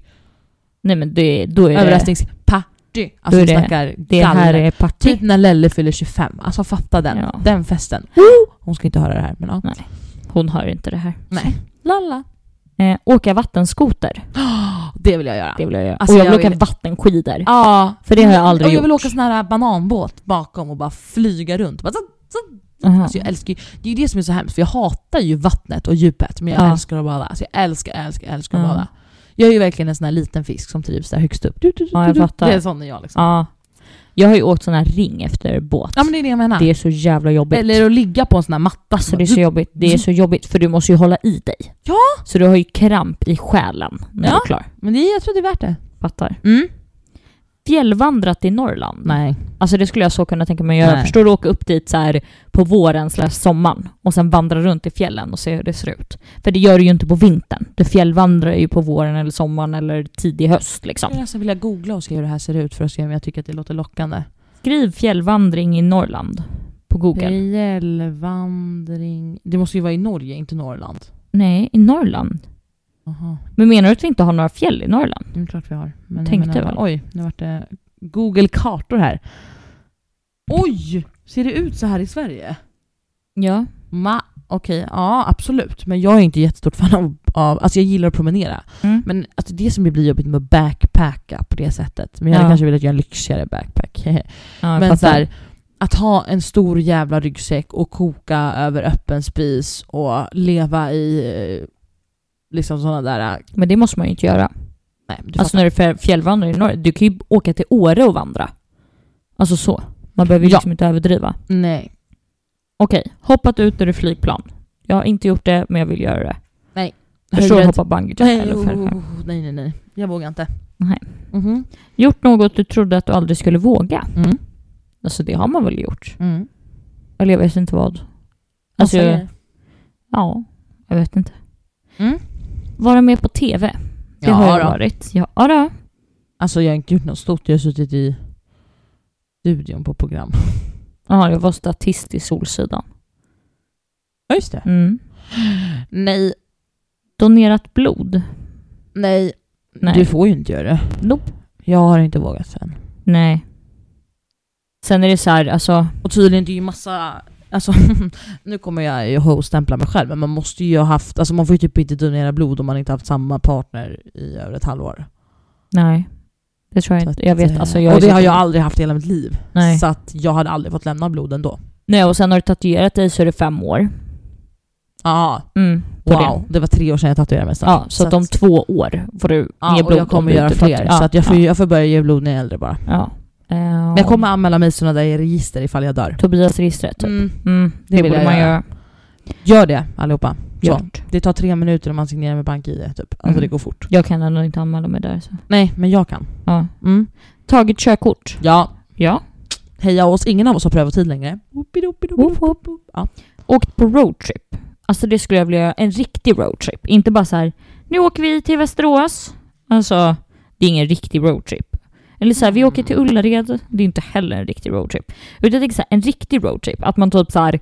Nej men det, då är det...
Överraskningsparty. 40. Alltså
Då är
vi
det-
snackar
Det här
galet.
är parti.
Typ när Lelle fyller 25. Alltså fatta den.
Ja.
Den festen. Hon ska inte höra det här men ja.
Nej. Hon hör inte det här.
Nej. Lalla.
Eh, åka vattenskoter.
Det vill jag göra.
Det vill jag göra.
Alltså,
och jag vill
jag
åka
vill-
vattenskidor.
Ja.
För det har jag aldrig
Och jag vill
gjort.
åka sån här bananbåt bakom och bara flyga runt. Bara, så-
Aha.
alltså, jag älskar ju, det är ju det som är så hemskt för jag hatar ju vattnet och djupet men jag
Ja.
älskar att bada. Alltså, jag älskar, älskar, älskar
Ja.
att bada. Jag är ju verkligen en sån här liten fisk som trivs där högst upp. Du, du, du,
Ja, jag
du, du.
fattar.
Det är sån är jag liksom.
Ja. Jag har ju åkt sån här ring efter båt.
Ja men det är det jag menar.
Det är så jävla jobbigt.
Eller att ligga på en sån här matta.
Alltså
som
det är så jobbigt. Det är så jobbigt för du måste ju hålla i dig.
Ja.
Så du har ju kramp i själen när du
Ja.
är klar.
men det, är- jag tror det är värt det.
Fattar.
Mm.
Fjällvandrat i Norrland.
Nej.
Alltså det skulle jag så kunna tänka mig att göra.
Nej.
Förstår du åka upp dit så här på våren slash sommaren och sen vandra runt i fjällen och se hur det ser ut. För det gör du ju inte på vintern. Du fjällvandrar ju på våren eller sommaren eller tidig höst liksom.
Jag skulle nästan vilja googla och se hur det här ser ut för att se om jag tycker att det låter lockande.
Skriv fjällvandring i Norrland på Google.
Fjällvandring. Det måste ju vara i Norge, inte Norrland.
Nej, i Norrland.
Jaha,
Men menar du att vi inte har några fjäll i Norrland?
det är klart vi har. Men jag
Tänkte
menar,
väl.
Oj, nu vart det Google kartor här. Oj! Ser det ut så här i Sverige?
Ja.
Ma, okej, ja absolut. Men jag är inte jättestort fan av, av alltså jag gillar att promenera.
Mm.
Men alltså det som blir jobbigt med att backpacka på det sättet. Men jag hade
Ja.
kanske velat göra en lyxigare backpack. (laughs)
Ja, jag
Men så
fattar.
här, att ha en stor jävla ryggsäck och koka över öppen spis och leva i eh, liksom sådana där...
Men det måste man ju inte göra.
Nej, du
alltså när du fjär- fjällvandrar i Norge, du kan ju åka till Åre och vandra. Alltså så. Man behöver ju
Ja.
liksom inte överdriva.
fattar. Nej.
Okej, hoppat ut ur ett flygplan. Jag har inte gjort det, men jag vill göra det.
Nej.
Förstår du
Höjdrädd.
att hoppa bungyjump
Nej,
eller fallskärm?
oh, nej, nej, nej. Jag vågar inte.
Nej.
Mhm.
Gjort något du trodde att du aldrig skulle våga?
Mm.
Alltså det har man väl gjort?
Mm.
Eller jag vet inte vad.
Vad
Alltså,
säger du?
ja, jag vet inte.
Mm.
Vara med på TV. Det
Ja,
har jag
då.
varit. Ja, ja då.
Alltså jag har inte gjort något stort, jag har suttit i studion på program.
Ja, jag var statist i Solsidan.
Ja just det.
Mm.
Nej,
Donerat blod?
nej,
Nej.
Du får ju inte göra det.
Nope.
Jag har inte vågat sen.
Nej. Sen är det så här, alltså...
Och tydligen det är ju massa, alltså (laughs) nu kommer jag ju ho-stämpla mig själv men man måste ju ha haft, alltså man får ju typ inte donera blod om man inte haft samma partner i över ett halvår.
Nej. Det tror jag
Så
inte.
att,
Jag vet,
eh,
alltså jag är
och det
så-
har jag aldrig haft i hela mitt liv.
Nej.
Så att jag hade aldrig fått lämna blod ändå.
Nej, och sen har du tatuerat dig så är det fem år.
Ja,
Mm, på
wow.
det.
Det. var tre år sedan jag tatuerade mig. Så,
Ja, så, att om
att-
två år får du mer
ja,
blod.
och jag
om
kommer
du
göra
inte
fler.
tatuerar.
Så att jag, får,
ja,
jag får börja ge blod när jag är äldre bara.
ja. Eh,
Men jag kommer anmäla mig till sådana där register ifall jag dör.
Tobias registret. Typ.
Mm.
Mm, det,
vill
borde
jag
man
göra.
göra.
Gör det allihopa. Så.
Gjort.
Det tar tre minuter när man signerar med BankID typ. Alltså
Mm.
det går fort.
Jag kan ändå inte anmäla mig där. Så.
Nej, men jag kan.
Ja.
Mm.
Tagit körkort.
Ja,
Ja.
heja oss. Ingen av oss har prövotid längre. Whoopidoopidoop.
Woop, woop.
Ja.
Åkt på roadtrip. Alltså det skulle jag vilja göra. En riktig roadtrip. Inte bara så här, nu åker vi till Västerås. Alltså, det är ingen riktig roadtrip. Eller så här, vi åker till Ullared. Det är inte heller en riktig roadtrip. Utan jag tänker så här, en riktig roadtrip. Att man typ så här,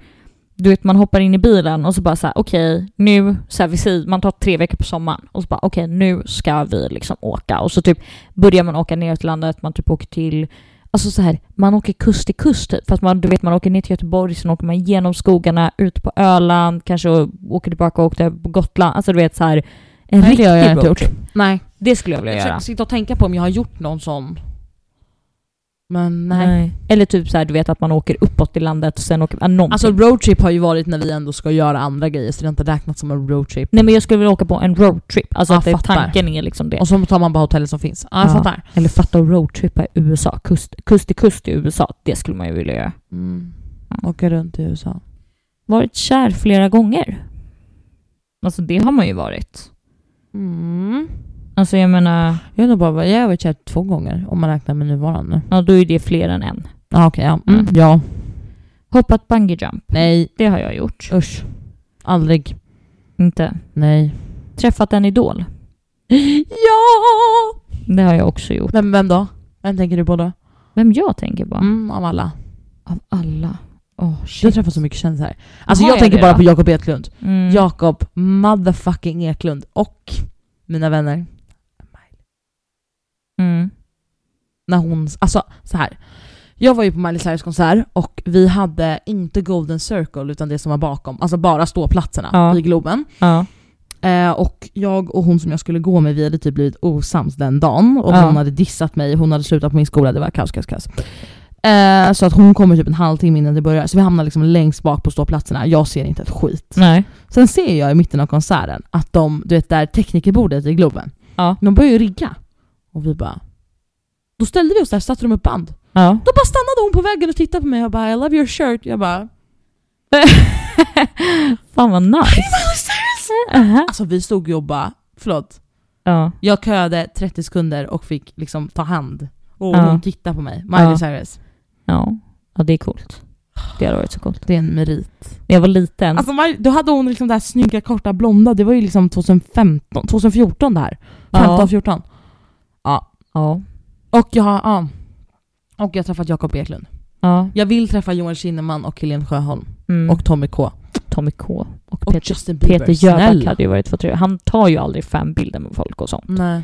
du vet man hoppar in i bilen och så bara så här, okej nu, så här, vi säger, man tar tre veckor på sommaren och så bara okej nu ska vi liksom åka. Och så typ börjar man åka ner till landet, man typ åker till Alltså så här, man åker kust till kust typ. För att man, du vet, man åker ner till Göteborg, sen åker man genom skogarna, ut på Öland, kanske och åker tillbaka och åker på Gotland. Alltså du vet så här, en
Nej, det
riktig
har jag inte
roadtrip.
Nej,
Det skulle jag vilja
jag
göra.
försöker sitta och tänka på om jag har gjort någon sån. Men nej.
Eller typ så här, du vet att man åker uppåt i landet och sen åker man någonting.
Alltså roadtrip har ju varit när vi ändå ska göra andra grejer så det har inte räknats som en roadtrip.
Nej men jag skulle vilja åka på en roadtrip. Alltså
Ja,
att det,
fattar.
tanken är liksom det.
Och så tar man bara hotellet som finns. Ja, jag
Ja.
fattar.
Eller fatta att roadtrippa i USA. Kust, kust till kust i USA. Det skulle man ju vilja göra.
Mm. Åka runt i USA.
Varit kär flera gånger. Alltså det har man ju varit.
Mm.
Alltså jag menar,
Jag har nog bara jag har varit kär två gånger om man räknar med nuvarande.
ja, då är det fler än en.
Ja okej, ja. Mm. Ja.
Hoppat bungee jump.
Nej,
Det har jag gjort.
usch. Aldrig.
Inte.
Nej.
Träffat en idol.
Ja!
Det har jag också gjort.
Vem, vem då? Vem tänker du på då?
Vem jag tänker på?
Mm, av alla.
Av alla. Åh
Du har
shit.
träffat så mycket kändisar. Alltså
Har
jag,
jag
tänker
det
bara
då?
på Jakob Eklund.
Mm.
Jakob motherfucking Eklund och mina vänner.
Mm.
när hon, alltså så här. Jag var ju på Miley Cyrus konsert och vi hade inte Golden Circle utan det som var bakom, alltså bara ståplatserna
Ja.
i Globen.
Ja.
Eh, och jag och hon som jag skulle gå med, vi hade typ blivit osams den dagen och
Ja.
hon hade dissat mig, hon hade slutat på min skola, det var kaos, kaos, kaos. Eh, så att hon kommer typ en halvtimme innan det börjar, så vi hamnar liksom längst bak på ståplatserna, jag ser inte ett skit.
Nej.
Sen ser jag i mitten av konserten att de, du vet där teknikerbordet i Globen,
Ja.
de börjar ju rigga. Och vi bara... Då ställde vi oss där, satte de upp band.
Ja. (laughs)
Då bara stannade hon på vägen och tittade på mig och bara I love your shirt. Jag bara
Fan vad nice. Aha.
Alltså vi stod ju och bara, förlåt.
Ja.
Jag köade 30 sekunder och fick liksom ta hand. Och
Ja.
hon tittade på mig. Miley
Ja.
Cyrus.
Ja. ja, det är coolt. Det hade varit så coolt.
Det är en merit.
När jag var liten.
Alltså Maj- då hade hon liksom det här snygga korta blonda, det var ju liksom 2015, 2014 det här.
Ja.
15, 14.
ja.
Och jag har, ja. Och jag har träffat Jakob Eklund.
ja.
Jag vill träffa Johan Kinnaman och Helene Sjöholm.
Mm.
Och Tommy K.
Tommy K. Och
Och
Peter,
Justin Bieber.
Peter Jöback
Snälla.
hade ju varit för trevligt. Han tar ju aldrig fanbilder med folk och sånt.
Nej.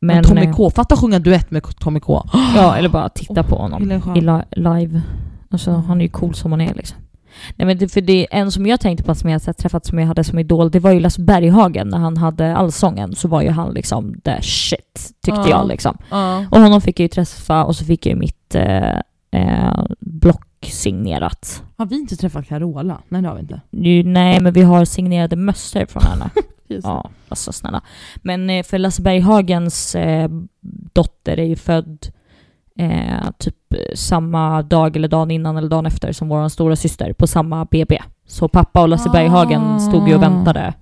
Men,
Men,
Tommy
eh,
K, fatta sjunga duett med Tommy K.
Ja, eller bara titta på honom.
Helene Sjöholm.
i li- live. Alltså han är ju cool som han är liksom. Nej men det, för det en som jag tänkte på som jag så här träffat som jag hade som idol, det var ju Lasse Berghagen när han hade Allsången så var ju han liksom the shit tyckte
Ja.
jag liksom.
Ja.
Och honom fick jag ju träffa och så fick jag ju mitt eh, eh, block signerat.
Har vi inte träffat Carola? Nej det har vi inte.
Nu, nej men vi har signerade mössor från henne.
Just.
ja, alltså snälla. Men eh, för Lasse Berghagens eh, dotter är ju född eh, typ eh, samma dag eller dagen innan eller dagen efter som vår stora syster på samma BB. Så pappa och Lasse
Ah.
Berghagen stod ju och väntade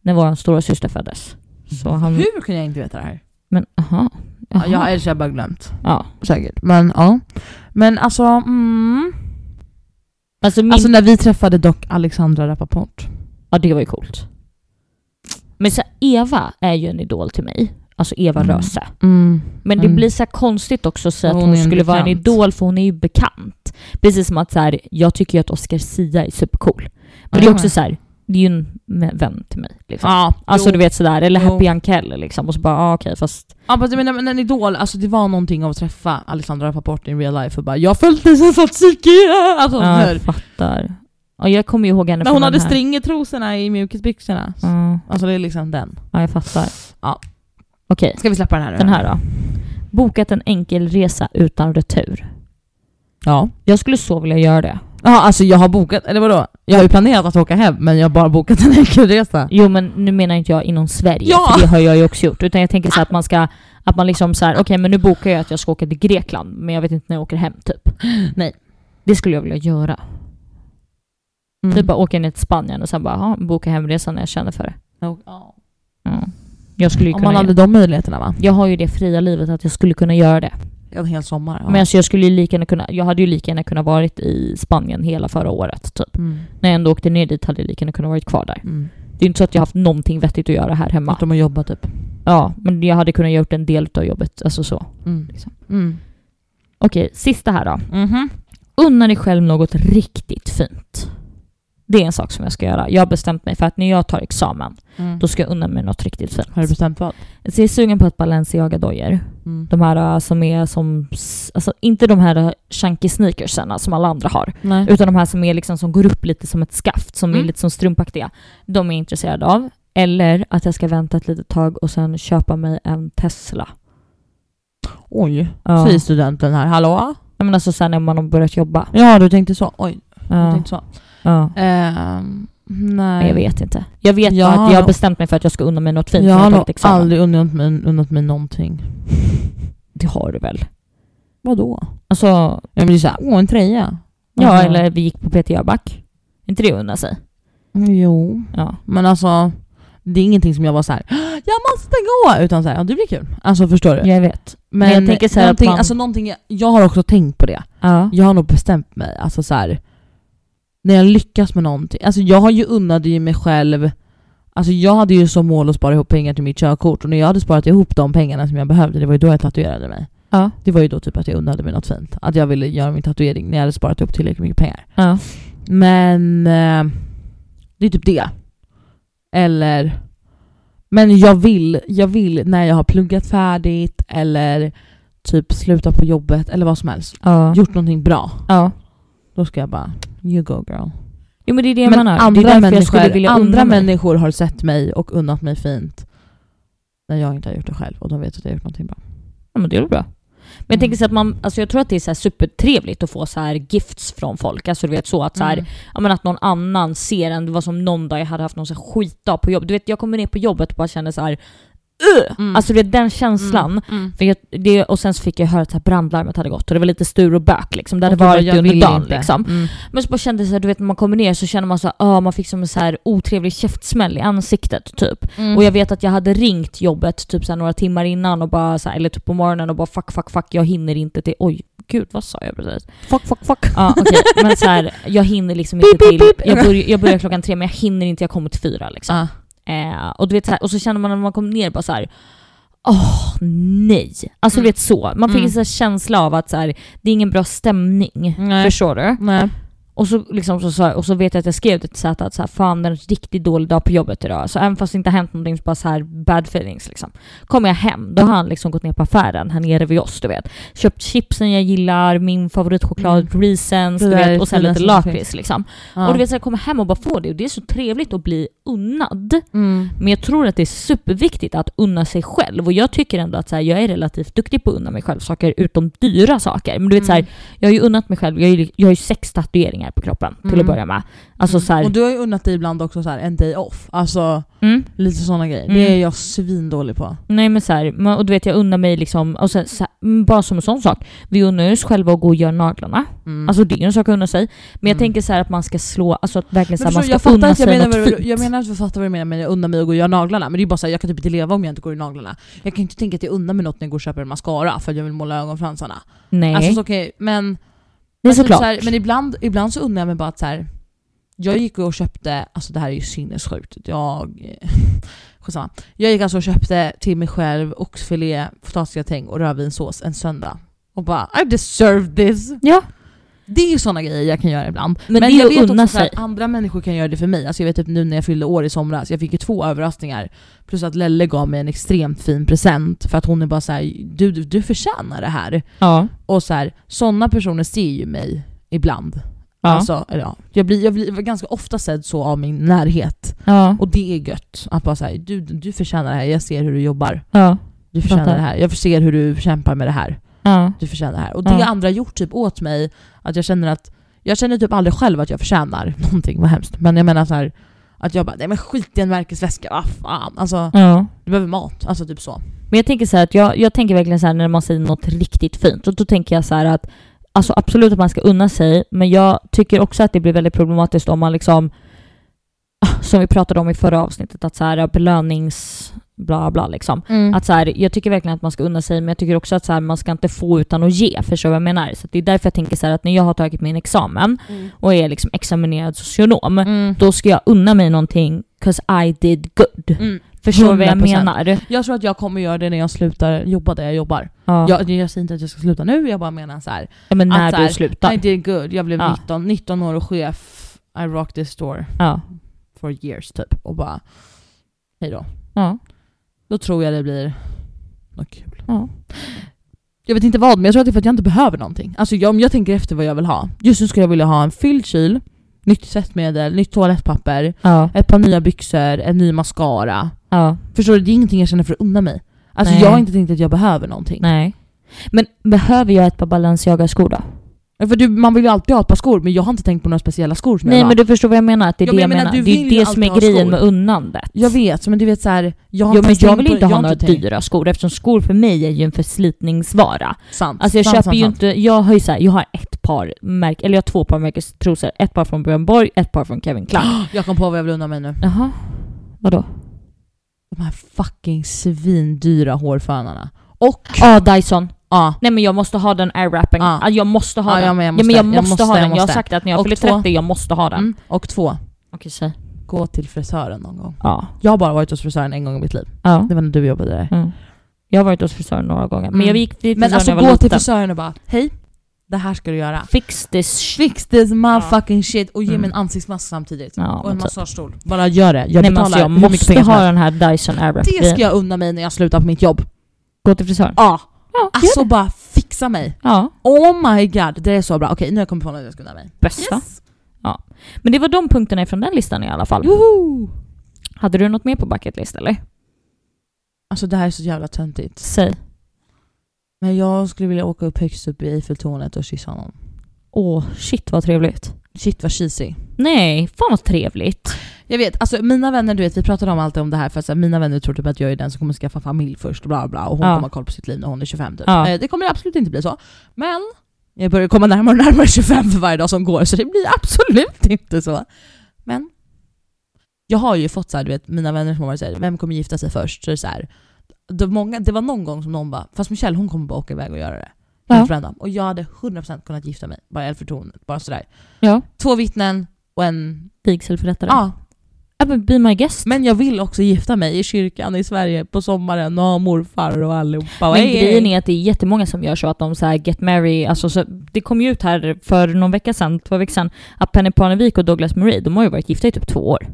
när vår stora syster föddes. Så han...
Hur kunde jag inte veta det här?
Men aha.
Ja,
aha.
jag har eller så har jag bara glömt.
ja.
Säkert. Men ja. Men alltså, mm.
Alltså, min...
alltså när vi träffade dock Alexandra Rappaport.
ja, det var ju coolt. Men så här, Eva är ju en idol till mig. Alltså Eva
Mm.
Röse.
Mm.
Men det
Mm.
blir så här konstigt också att säga
Ja,
att
hon
hon,
är en
skulle vara en
bekant.
idol för hon är ju bekant. Precis som att så här, jag tycker ju att Oscar Sia är supercool. Men det är
Ja.
också så här, det är ju en vän- vän till mig. Liksom.
Ja,
alltså
jo.
du vet sådär, eller
Jo.
Happy Ankel liksom. Och så bara, ah, okej fast...
Ja fast jag menar, men en idol, alltså det var någonting av att träffa Alexandra Rappaport in real life och bara jag har följt dig sen satt psyke! (laughs) Alltså
Ja,
ah,
jag fattar. Ja, jag kommer ju ihåg henne
När hon
från
hade
den här.
stringetrosorna i mjukisbyxorna.
Ja,
Alltså det är liksom den.
ja, jag fattar.
Ja.
Okej,
Ska vi släppa den här nu?
den här då. Bokat en enkel resa utan retur.
Ja.
Jag skulle så vilja göra det.
Ja, alltså jag har bokat, eller vadå? Jag har ju planerat att åka hem men jag har bara bokat en (laughs) enkelresa.
Jo men nu menar inte jag inom Sverige,
Ja.
för det har jag ju också gjort. Utan jag tänker så här att man ska, att man liksom så här, okej men nu bokar jag att jag ska åka till Grekland, men jag vet inte när jag åker hem typ. (gasps)
Nej.
Det skulle jag vilja göra.
Mm.
Typ bara åka ner till Spanien och sen bara, aha, boka hemresan när jag känner för det.
Ja.
Mm. Jag skulle ju
Om
kunna
man
göra-
hade de möjligheterna va?
Jag har ju det fria livet att jag skulle kunna göra det.
En hel sommar. Ja.
Men alltså jag skulle ju lika gärna kunna, jag hade ju lika gärna kunnat varit i Spanien hela förra året typ.
mm.
När jag ändå åkte ner dit hade jag lika gärna kunnat varit kvar där.
Mm.
Det är ju inte så att jag haft någonting vettigt att göra här hemma.
Utom att jobba typ.
Ja, men jag hade kunnat gjort en del av jobbet, alltså så.
Mm.
Liksom.
Mm.
Okej, sista här då.
Mhm.
Unna dig själv något riktigt fint. Det är en sak som jag ska göra. Jag har bestämt mig för att när jag tar examen,
Mm.
då ska jag unna mig något riktigt fint.
Har du bestämt vad?
Så jag är sugen på ett Balenciaga-dojor.
Mm.
De här äh, som är som, s- alltså inte de här äh, chunky sneakersarna som alla andra har.
Nej.
Utan de här som är liksom som går upp lite som ett skaft, som är
Mm.
lite som strumpaktiga. De är jag intresserad av. Eller att jag ska vänta ett litet tag och sen köpa mig en Tesla.
Oj,
Ja.
säger studenten här. Hallå?
Jag menar alltså sen när man har börjat jobba.
Ja du tänkte så. Oj, du
Ja.
tänkte så.
Ja.
Ehm, nej.
Men jag vet inte. Jag vet
Jag
bara
har
att jag har
nog-
bestämt mig för att jag ska unna mig något fint
jag
när
har
jag
nog
tagit examen.
aldrig unnat mig, unnat mig någonting.
Det har du väl?
Vadå?
Alltså,
Jag blir såhär, åh en tröja.
ja
Alltså,
eller vi gick på Peter Jöback. inte det att unna sig?
Jo,
Ja.
men alltså det är ingenting som jag var så här. "Ah, jag måste gå! Utan såhär, ja det blir kul. Alltså förstår du?
Jag vet. Men jag tänker så här att
någonting,
man-
alltså någonting, jag, jag har också tänkt på det.
Ja.
Jag har nog bestämt mig, alltså så här. när jag lyckas med någonting. Alltså jag har ju unnade ju mig själv, alltså jag hade ju som mål att spara ihop pengar till mitt körkort och när jag hade sparat ihop de pengarna som jag behövde, det var ju då jag tatuerade mig.
Ja.
Det var ju då typ att jag unnade mig något fint. Att jag ville göra min tatuering när jag hade sparat ihop tillräckligt mycket pengar.
ja.
Men eh, det är typ det. Eller... Men jag vill, jag vill när jag har pluggat färdigt eller typ slutat på jobbet eller vad som helst,
Ja.
gjort någonting bra,
ja.
då ska jag bara you go girl.
Jo men det är det
Men
man har. det är
andra,
därför jag skulle
människor,
vilja
andra
unna mig.
människor har sett mig och unnat mig fint när jag inte har gjort det själv och de vet att jag har gjort någonting bra.
Ja, men det är väl bra. Men
Mm.
jag tänker så att man, alltså jag tror att det är så här supertrevligt att få så här gifts från folk. Alltså du vet så att så här,
Mm.
ja, men att någon annan ser en, det var som någon dag jag hade haft någon så här skitdag på jobbet. Du vet jag kommer ner på jobbet och bara känner så här, "Ugh!"
Mm.
Alltså du vet den känslan.
Mm.
För jag, det, och sen så fick jag höra att så här brandlarmet hade gått och det var lite stur och bök liksom. Det hade
Och du bara,
varit
"Jag
under
vill
dagen
inte."
liksom.
Mm.
Men så bara kände jag så här, du vet när man kommer ner så känner man så här, ah, man fick som en så här otrevlig käftsmäll i ansiktet typ.
Mm.
Och jag vet att jag hade ringt jobbet typ så här några timmar innan, och bara, så här, eller typ på morgonen och bara fuck, fuck, fuck, jag hinner inte till... Oj, gud vad sa jag precis?
Fuck, fuck, fuck.
Ja okej, men så här, jag hinner liksom
Pip,
inte
pip,
till...
pip.
Jag, börj, jag börjar klockan tre men jag hinner inte, jag kommer till fyra liksom.
Ah.
Eh, och, du vet, så här, och så känner man när man kom ner bara så här. Åh nej! Alltså du
Mm.
vet så. Man fick
Mm.
en så här känsla av att så här, det är ingen bra stämning.
Nej.
Förstår du?
Nej.
Och så, liksom, så, sa- och så vet jag att jag skrev det till Zäta att så här, fan det är en riktigt dålig dag på jobbet idag. Så även fast det inte har hänt någonting så bara så här bad feelings liksom. Kommer jag hem, då har han liksom gått ner på affären här nere vid oss du vet. Köpt chipsen jag gillar, min favoritchoklad Reasons
Mm. Det
du
där
vet
är det
och sen lite
finaste som finns.
lakrits liksom.
Ja.
Och du vet så här, kommer hem och bara få det och det är så trevligt att bli unnad.
Mm.
Men jag tror att det är superviktigt att unna sig själv och jag tycker ändå att så här, jag är relativt duktig på att unna mig själv saker utom dyra saker. Men du vet så
Mm.
här, jag har ju unnat mig själv, jag har ju, jag har ju sex tatueringar på kroppen till
Mm.
att börja med. Alltså så
Och
här,
du har ju unnat dig ibland också så här, en day off. Alltså
mm,
lite sådana grejer.
Mm.
Det är jag svindålig på.
nej men så här, man- och du vet jag unnar mig liksom, och sen, så här, mm, bara som en sån sak, vi unnar oss själva att gå och göra naglarna.
Mm.
Alltså det är ju en sak att unna sig. Men jag
Mm.
tänker så här att man ska slå, alltså att verkligen så
men
här, man
förstår,
ska
jag fattar
unna
att jag
sig
menar,
något
vad du-
fint.
jag menar att jag fattar vad du menar men jag unnar mig att gå och göra naglarna. Men det är bara så här, jag kan typ inte leva om jag inte går i naglarna. Jag kan ju inte tänka att jag unnar mig något när jag går och köper en mascara för att jag vill måla ögonfransarna.
nej,
Alltså så okej, men,
det är
men, typ
såklart.
så här, men ibland, ibland så unnar jag mig bara att så här. Jag gick och köpte, alltså det här är ju sinnessjukt. Jag, (laughs) skitsamma. jag gick alltså och köpte till mig själv oxfilé, potatisgratäng och rödvinssås en söndag. Och bara I deserve this!
ja,
Det är ju sådana grejer jag kan göra ibland.
men, det är
jag
ju att unna
också så här,
sig.
andra människor kan göra det för mig. Alltså jag vet typ nu när jag fyllde år i somras, jag fick ju två överraskningar. Plus att Lelle gav mig en extremt fin present för att hon är bara så här, du, du, du förtjänar det här.
Ja,
Och så här, sådana personer ser ju mig ibland.
ja,
Alltså, eller ja, jag, blir, jag blir ganska ofta sedd så av min närhet.
ja,
Och det är gött. Att bara så här, du, du förtjänar det här, jag ser hur du jobbar.
ja,
Du förtjänar
Fattar.
det här, jag ser hur du kämpar med det här.
ja.
Du förtjänar det här. Och det
Ja.
har andra gjort typ åt mig, att jag känner att jag känner typ aldrig själv att jag förtjänar (laughs) någonting, vad hemskt. Men jag menar så här, att jag bara nej men skit i en märkesväska, vad fan. Alltså
ja.
du behöver mat, alltså typ så.
Men jag tänker så här att jag, jag tänker verkligen så här när man säger något riktigt fint och då tänker jag så här att alltså absolut att man ska unna sig men jag tycker också att det blir väldigt problematiskt om man liksom ah, som vi pratade om i förra avsnittet att så här belönings bla bla liksom.
Mm.
Att så här, jag tycker verkligen att man ska unna sig men jag tycker också att så här, man ska inte få utan att ge. Förstår du vad jag menar? Så att det är därför jag tänker så här att när jag har tagit min examen
Mm.
och är liksom examinerad socionom
Mm.
då ska jag unna mig någonting 'cause I did good.
Mm.
Förstår du vad jag
100%.
menar?
Jag tror att jag kommer göra det när jag slutar jobba där jag jobbar.
Ja.
Jag, jag säger inte att jag ska sluta nu, jag bara menar så här.
Ja, men när
Att så här,
du slutar.
I did good, jag blev
Ja.
19, 19 år och chef, I rocked this store
Ja.
for years typ. Och bara hejdå.
ja.
Då tror jag det blir något kul.
Ja.
Jag vet inte vad, men jag tror att det är för att jag inte behöver någonting. Alltså jag, om jag tänker efter vad jag vill ha. Just nu skulle jag vilja ha en fylld kyl, nytt tvättmedel, nytt toalettpapper,
Ja.
ett par nya byxor, en ny mascara.
ja.
Förstår du? Det är ingenting jag känner för att unna mig. Alltså
Nej.
jag har inte tänkt att jag behöver någonting.
Nej. Men behöver jag ett par Balenciaga-skor då?
Ja, För du, man vill ju alltid ha ett par skor, men jag har inte tänkt på några speciella skor som
Nej
jag vill
men
ha.
du förstår vad jag menar, att det är
Ja, men
det
jag
jag
menar,
menar.
du
Det är
vill
ju
ju
det som
alltid
är
ha
grejen
skor.
med unnandet.
Jag vet, men du vet såhär... Jag har
Jo men
ens
jag
tänkt
vill
på-
inte ha
har
några
tänkt-
dyra skor eftersom skor för mig är ju en förslitningsvara.
Sant.
Alltså jag
sant,
köper
sant,
ju
sant.
inte, jag har ju så här, jag har ett par märk, eller jag har två par märkestrosor. Ett par från Björn Borg, ett par från Kevin Klein.
(gasps) Jag kom på vad jag vill unna mig nu.
Jaha. Vadå?
De här fucking svindyra hårfönarna. Och...
Ja, ah, Dyson.
Ja.
Nej men jag måste ha den airwrappen.
Ja.
Ah. Jag måste ha
Ja,
den.
ja, men jag måste,
ja, men
jag
jag måste, ha
måste, jag
den. Jag har
måste.
sagt att när jag
Och
fyller
två.
30, jag måste ha den.
Mm. Och två,
Okej, säg.
gå till frisören någon gång.
Ja.
Jag har bara varit hos frisören en gång i mitt liv.
ja.
Det var när du jobbade där.
Mm. Jag har varit hos frisören några gånger.
Mm.
Men jag gick till frisören
Men alltså
när jag var
gå till
liten.
frisören och bara hej, det här ska du göra.
Fix this shit.
Fix this motherfucking shit och ge
Mm.
mig en ansiktsmask samtidigt.
Ja,
och
men
en
typ.
massagestol. Bara gör det, jag
Nej, men
betalar
alltså, jag
hur mycket
måste
pengar som
ha
helst.
den här Dyson Airwrap.
Det ska jag unna mig när jag slutar på mitt jobb.
Gå till frisören.
Ja.
Ja, gör
Alltså bara fixa mig.
Ja,
Oh my god, det är så bra. Okej, nu har jag kommit på något jag ska unna mig.
bästa. Men det var de punkterna från den listan i alla fall.
Woho!
Hade du något mer på bucket list eller?
Alltså det här är så jävla töntigt.
Säg.
Men jag skulle vilja åka upp högst upp i Eiffeltornet och kyssa honom.
Åh, shit vad trevligt.
Shit vad cheesy.
Nej, fan vad trevligt.
Jag vet, alltså mina vänner, du vet vi pratade om alltid om det här för att så här, mina vänner tror typ att jag är den som kommer skaffa familj först och bla bla bla och hon
Ja.
kommer ha koll på sitt liv när hon är 25 typ.
Ja.
Eh, det kommer absolut inte bli så. Men jag börjar komma närmare och närmare 25 för varje dag som går så det blir absolut (laughs) inte så. Men jag har ju fått så här, du vet mina vänner som har varit såhär, vem kommer gifta sig först? Så det, är så här, det, många, det var någon gång som någon bara, fast Michelle hon kommer bara åka iväg och göra det. Helt random. Och jag hade 100% kunnat gifta mig, bara i Elfentornet, bara sådär.
Ja.
Två vittnen och en...
Vigselförrättare.
Ja,
Ja, men be my guest.
men jag vill också gifta mig i kyrkan i Sverige på sommaren och ha morfar och allihopa.
Men grejen är att det är jättemånga som gör så att de så här get married, alltså så, det kom ju ut här för någon vecka sedan, två veckor sedan, att Penny Parnevik och Douglas Murray, de har ju varit gifta i typ två år.
Mm.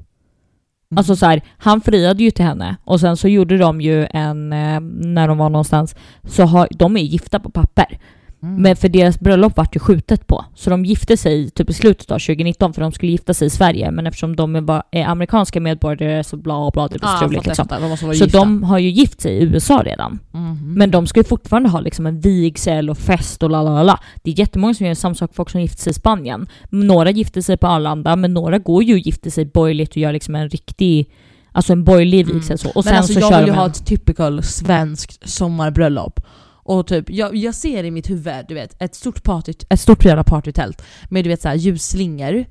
Alltså så här, han friade ju till henne och sen så gjorde de ju en, eh, när de var någonstans, så har, de är gifta på papper.
Mm.
Men för deras bröllop vart ju skjutet på. Så de gifte sig typ i slutet av 2019 för de skulle gifta sig i Sverige. Men eftersom de är, bara- är amerikanska medborgare så bla bla, det blir struligt liksom.
De måste vara
Så
gifta.
de har ju gift sig i USA redan.
Mhm.
Men de ska ju fortfarande ha liksom en vigsel och fest och la la la, la. Det är jättemånga som gör samma sak, folk som gifter sig i Spanien. Några gifter sig på Arlanda, men några går ju och gifter sig borgerligt och gör liksom en riktig, alltså en borgerlig
Mm.
vigsel så. Och
Men
sen
alltså,
så
jag
kör
vill
de
ju ha
en...
ett typical svenskt sommarbröllop. Och typ, jag, jag ser i mitt huvud, du vet, ett stort, party, ett stort jävla partytält med du vet så här, ljusslingor.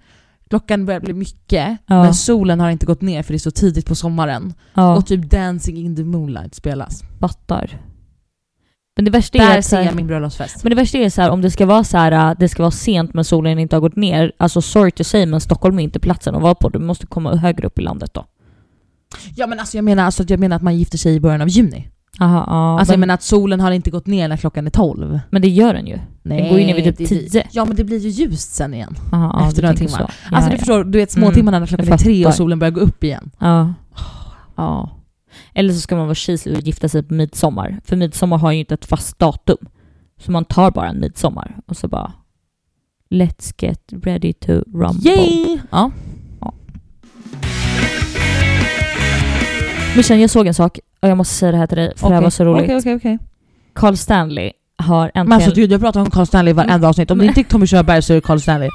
Klockan börjar bli mycket,
Ja.
men solen har inte gått ner för det är så tidigt på sommaren.
Ja,
Och typ Dancing in the moonlight spelas.
fattar. Men det värsta är
Där
att så
ser
här-
jag min bröllopsfest.
Men det värsta är så här, om det ska vara så här, äh, det ska vara sent men solen inte har gått ner. Alltså sorry to say men Stockholm är inte platsen att vara på. Du måste komma högre upp i landet då.
Ja men alltså jag menar, alltså, jag menar att man gifter sig i början av juni.
Aha, ja,
alltså
men,
jag
men,
menar att solen har inte gått ner när klockan är 12.
det gör den ju. Den går ju ner vid typ
det-
10.
Ja men det blir ju ljust sen igen.
Aha, ja,
Efter
du
några
tänker
timmar.
så. Ja,
alltså du
ja. Mm.
förstår, du vet småtimmarna när klockan
Jag
är tre och
fattar.
solen börjar gå upp igen.
Ja. ja. Eller så ska man vara kislig och gifta sig på midsommar. För midsommar har ju inte ett fast datum. Så man tar bara en midsommar och så bara Let's get ready to rumble.
Yay! Ja.
Mishan, jag såg en sak och jag måste säga det här till dig för det här var så roligt.
Okej, okej, okej.
Carl Stanley har äntligen...
Men alltså gud, jag pratar om Carl Stanley i
Mm.
varenda avsnitt. Om det inte är Tommy Körberg så är det
(laughs)
Carl Stanley.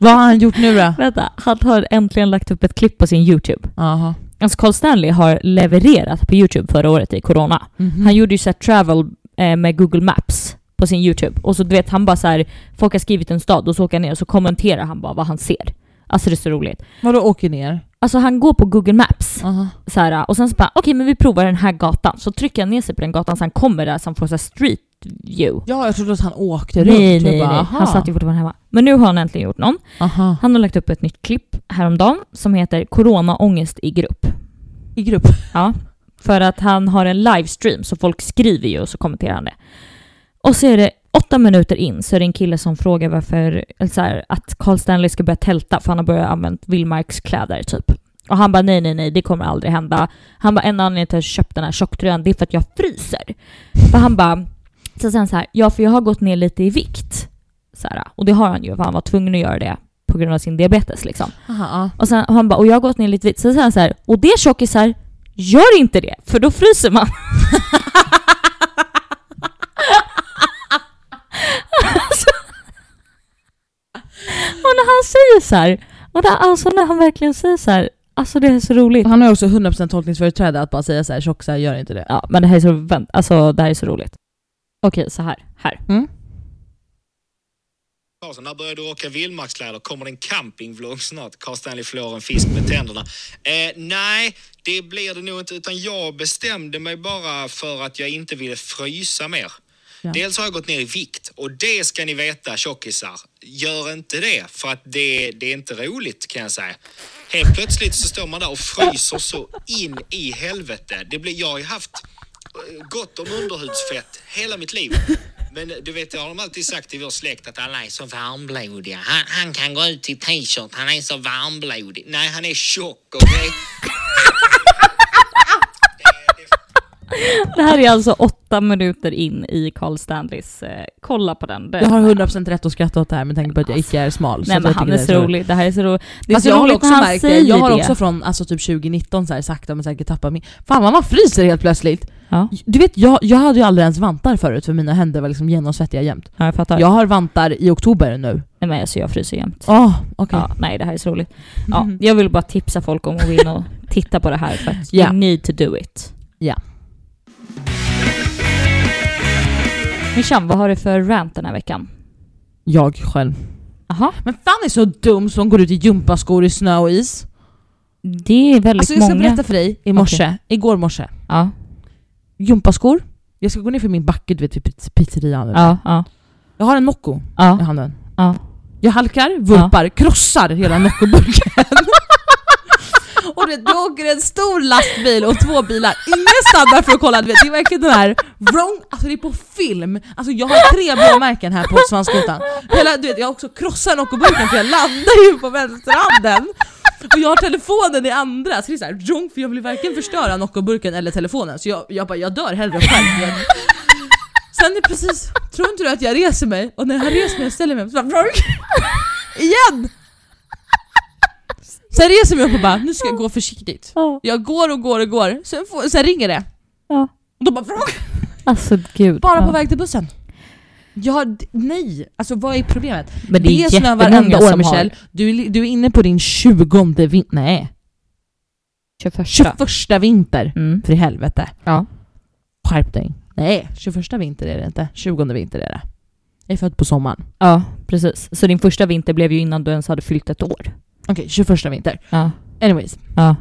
Vad har han gjort nu då?
Vänta, han har äntligen lagt upp ett klipp på sin YouTube.
Jaha.
Alltså Carl Stanley har levererat på YouTube förra året i corona.
Mhm.
Han gjorde ju såhär travel eh, med Google Maps på sin YouTube. Och så du vet, han bara såhär, folk har skrivit en stad och så åker han ner och så kommenterar han bara vad han ser. Alltså det är så roligt.
Vadå åker ner?
Alltså han går på Google Maps
Jaha.
så här, och sen så bara okej men vi provar den här gatan. Så trycker han ner sig på den gatan så han kommer där så han får såhär street view.
Ja, jag trodde att han åkte runt.
Nej
Jag
nej nej,
bara, aha.
han satt ju fortfarande hemma. Men nu har han äntligen gjort någon.
Aha.
Han har lagt upp ett nytt klipp häromdagen som heter Corona-ångest i grupp.
I grupp.
Ja, för att han har en livestream så folk skriver ju och så kommenterar han det. Och så är det åtta minuter in så är det en kille som frågar varför, eller så här, att Carl Stanley ska börja tälta för han har börjat använda Willmarks kläder typ. Och han bara nej, nej, nej, det kommer aldrig hända. Han bara en anledning till att jag köpte den här tjocktröjan det är för att jag fryser. För han bara, så sen så här, ja för jag har gått ner lite i vikt. Så här, och det har han ju för han var tvungen att göra det på grund av sin diabetes liksom.
Aha.
Och sen och han bara, och jag har gått ner lite vitt. Sen säger han så här, och det tjockisar, gör inte det, för då fryser man. (laughs) Alltså. och när han säger så här, och när, alltså när han verkligen säger så här, alltså det är så roligt.
Han har ju också 100% tolkningsföreträde att bara säga så här, tjockisar gör inte det.
Ja, men det här är så, vänt- alltså det här är så roligt. Okej, så här, här.
Mm.
Karlsson, när börjar du åka vildmarkskläder? Kommer det en campingvlogg snart? Carl Stanley flår en fisk med tänderna. Eh, nej, det blir det nog inte. Utan jag bestämde mig bara för att jag inte ville frysa mer.
Ja.
Dels har jag gått ner i vikt och det ska ni veta tjockisar. Gör inte det för att det, det är inte roligt kan jag säga. Helt plötsligt så står man där och fryser så in i helvete. Det blir, jag har ju haft gott om underhudsfett hela mitt liv. Men du vet, jag har de alltid sagt i vår släkt att alla är så varmblodiga. Han, han kan gå ut i t-shirt, han är så varmblodig. Nej, han är tjock, okej?
Det här är alltså åtta minuter in i Carl Stanleys, eh, kolla på den. Det,
Jag har 100% rätt att skratta åt det här med tanke på att jag icke är smal.
nej
att
men
jag
han
tycker
är
det
så rolig, det här är så roligt. Det är
Fast
så
jag har
roligt
också
när han
märkt det.
säger
Jag har
det.
också från alltså, typ 2019 så här, sakta men säkert tappat min... Fan vad man fryser helt plötsligt!
Ja,
Du vet, jag, jag hade ju aldrig ens vantar förut för mina händer var liksom genomsvettiga jämt.
ja jag fattar.
Jag har vantar i oktober nu.
Nej men alltså jag fryser jämt.
Åh, okej. Mhm.
Ja, nej det här är så roligt. Ja, Jag vill bara tipsa folk om att gå in
(laughs)
och titta på det här för att
Ja.
you need to do it.
Ja.
Mishan, vad har du för rant den här veckan?
Jag själv.
Aha.
Men fan är så dum som går ut i gympaskor i snö och is.
Det är väldigt
Alltså jag ska
många.
berätta för dig i morse, igår morse.
Ja,
Gympaskor. Jag ska gå ner för min backe du vet vid pizz- pizzerian nu.
ja, ja.
Jag har en Nocco i
ja.
handen.
Ja.
Jag halkar, vurpar, krossar hela Noccoburken. (laughs) och det, det åker en stor lastbil och två bilar. Ingen stannar för att kolla, du vet, det är verkligen den här wrong, alltså det är på film. Alltså jag har tre blåmärken här på svanskotan. Hela, du vet, jag har också krossar Noccoburken för jag landar ju på vänsterhanden. Och jag har telefonen i andra, så det är såhär wrong för jag vill verkligen förstöra Noccoburken eller telefonen. Så jag, jag bara, jag dör hellre själv. Jag, Sen är precis, tror inte du att jag reser mig? Och när jag har rest mig och ställer mig upp så bara vrunk. Igen! Sen reser jag mig upp och bara, nu ska jag gå försiktigt.
Ja.
Jag går och går och går, sen, får, sen ringer det.
Ja.
Och då bara vrunk.
Alltså gud.
Bara
ja.
på väg till bussen. Jag har, d- nej, alltså vad är problemet?
Men det är,
snö
jättemånga
varenda år
som
Michelle, du, är li- du är inne på din 20 vinter, nej,
har 21.
21 vinter.
Mm.
För i helvete.
Ja.
Skärp dig. Nej, 21 vinter är det inte, 20 vinter är det. Jag är född på sommaren.
ja, precis. Så din första vinter blev ju innan du ens hade fyllt ett år.
Okej, 21 vinter.
Ja,
Anyways,
ja.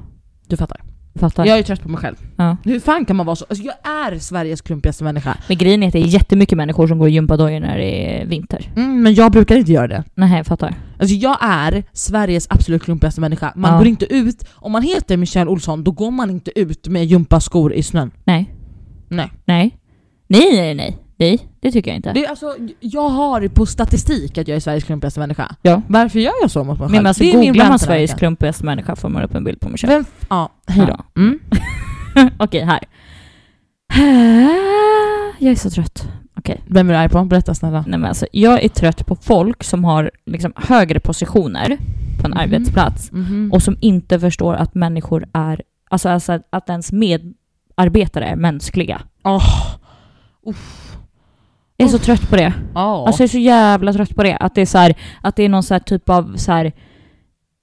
du fattar.
Fattar.
Jag är ju trött på mig själv.
Ja.
Hur fan kan man vara så? Alltså, jag är Sveriges klumpigaste människa.
Men grejen är att det är jättemycket människor som går i gympadojor när det är vinter.
Mm, men jag brukar inte göra det.
Nej, jag fattar.
Alltså jag är Sveriges absolut klumpigaste människa. Man
Ja.
går inte ut, om man heter Michelle Olsson då går man inte ut med gympaskor i snön.
Nej.
Nej.
Nej. Nej, nej, nej. Nej, det tycker jag inte.
Det är alltså, jag har på statistik att jag är Sveriges klumpigaste människa.
Ja.
Varför gör jag så mot mig själv?
Men alltså
Det är min
googlar man
rant den här
Sveriges
veckan.
klumpigaste människa får man upp en bild på mig själv.
Vem f- Ja, hejdå.
Ja.
Mm.
Okej, här. (sighs) Jag är så trött.
Vem är du arg på? Berätta snälla.
Nej, men alltså, jag är trött på folk som har liksom, högre positioner på en
Mhm.
arbetsplats
Mhm.
och som inte förstår att människor är, alltså, alltså att ens medarbetare är mänskliga.
Åh.
Jag är så trött på det.
Ja.
Alltså jag är så jävla trött på det. Att det är, så här, att det är någon så här typ av så här.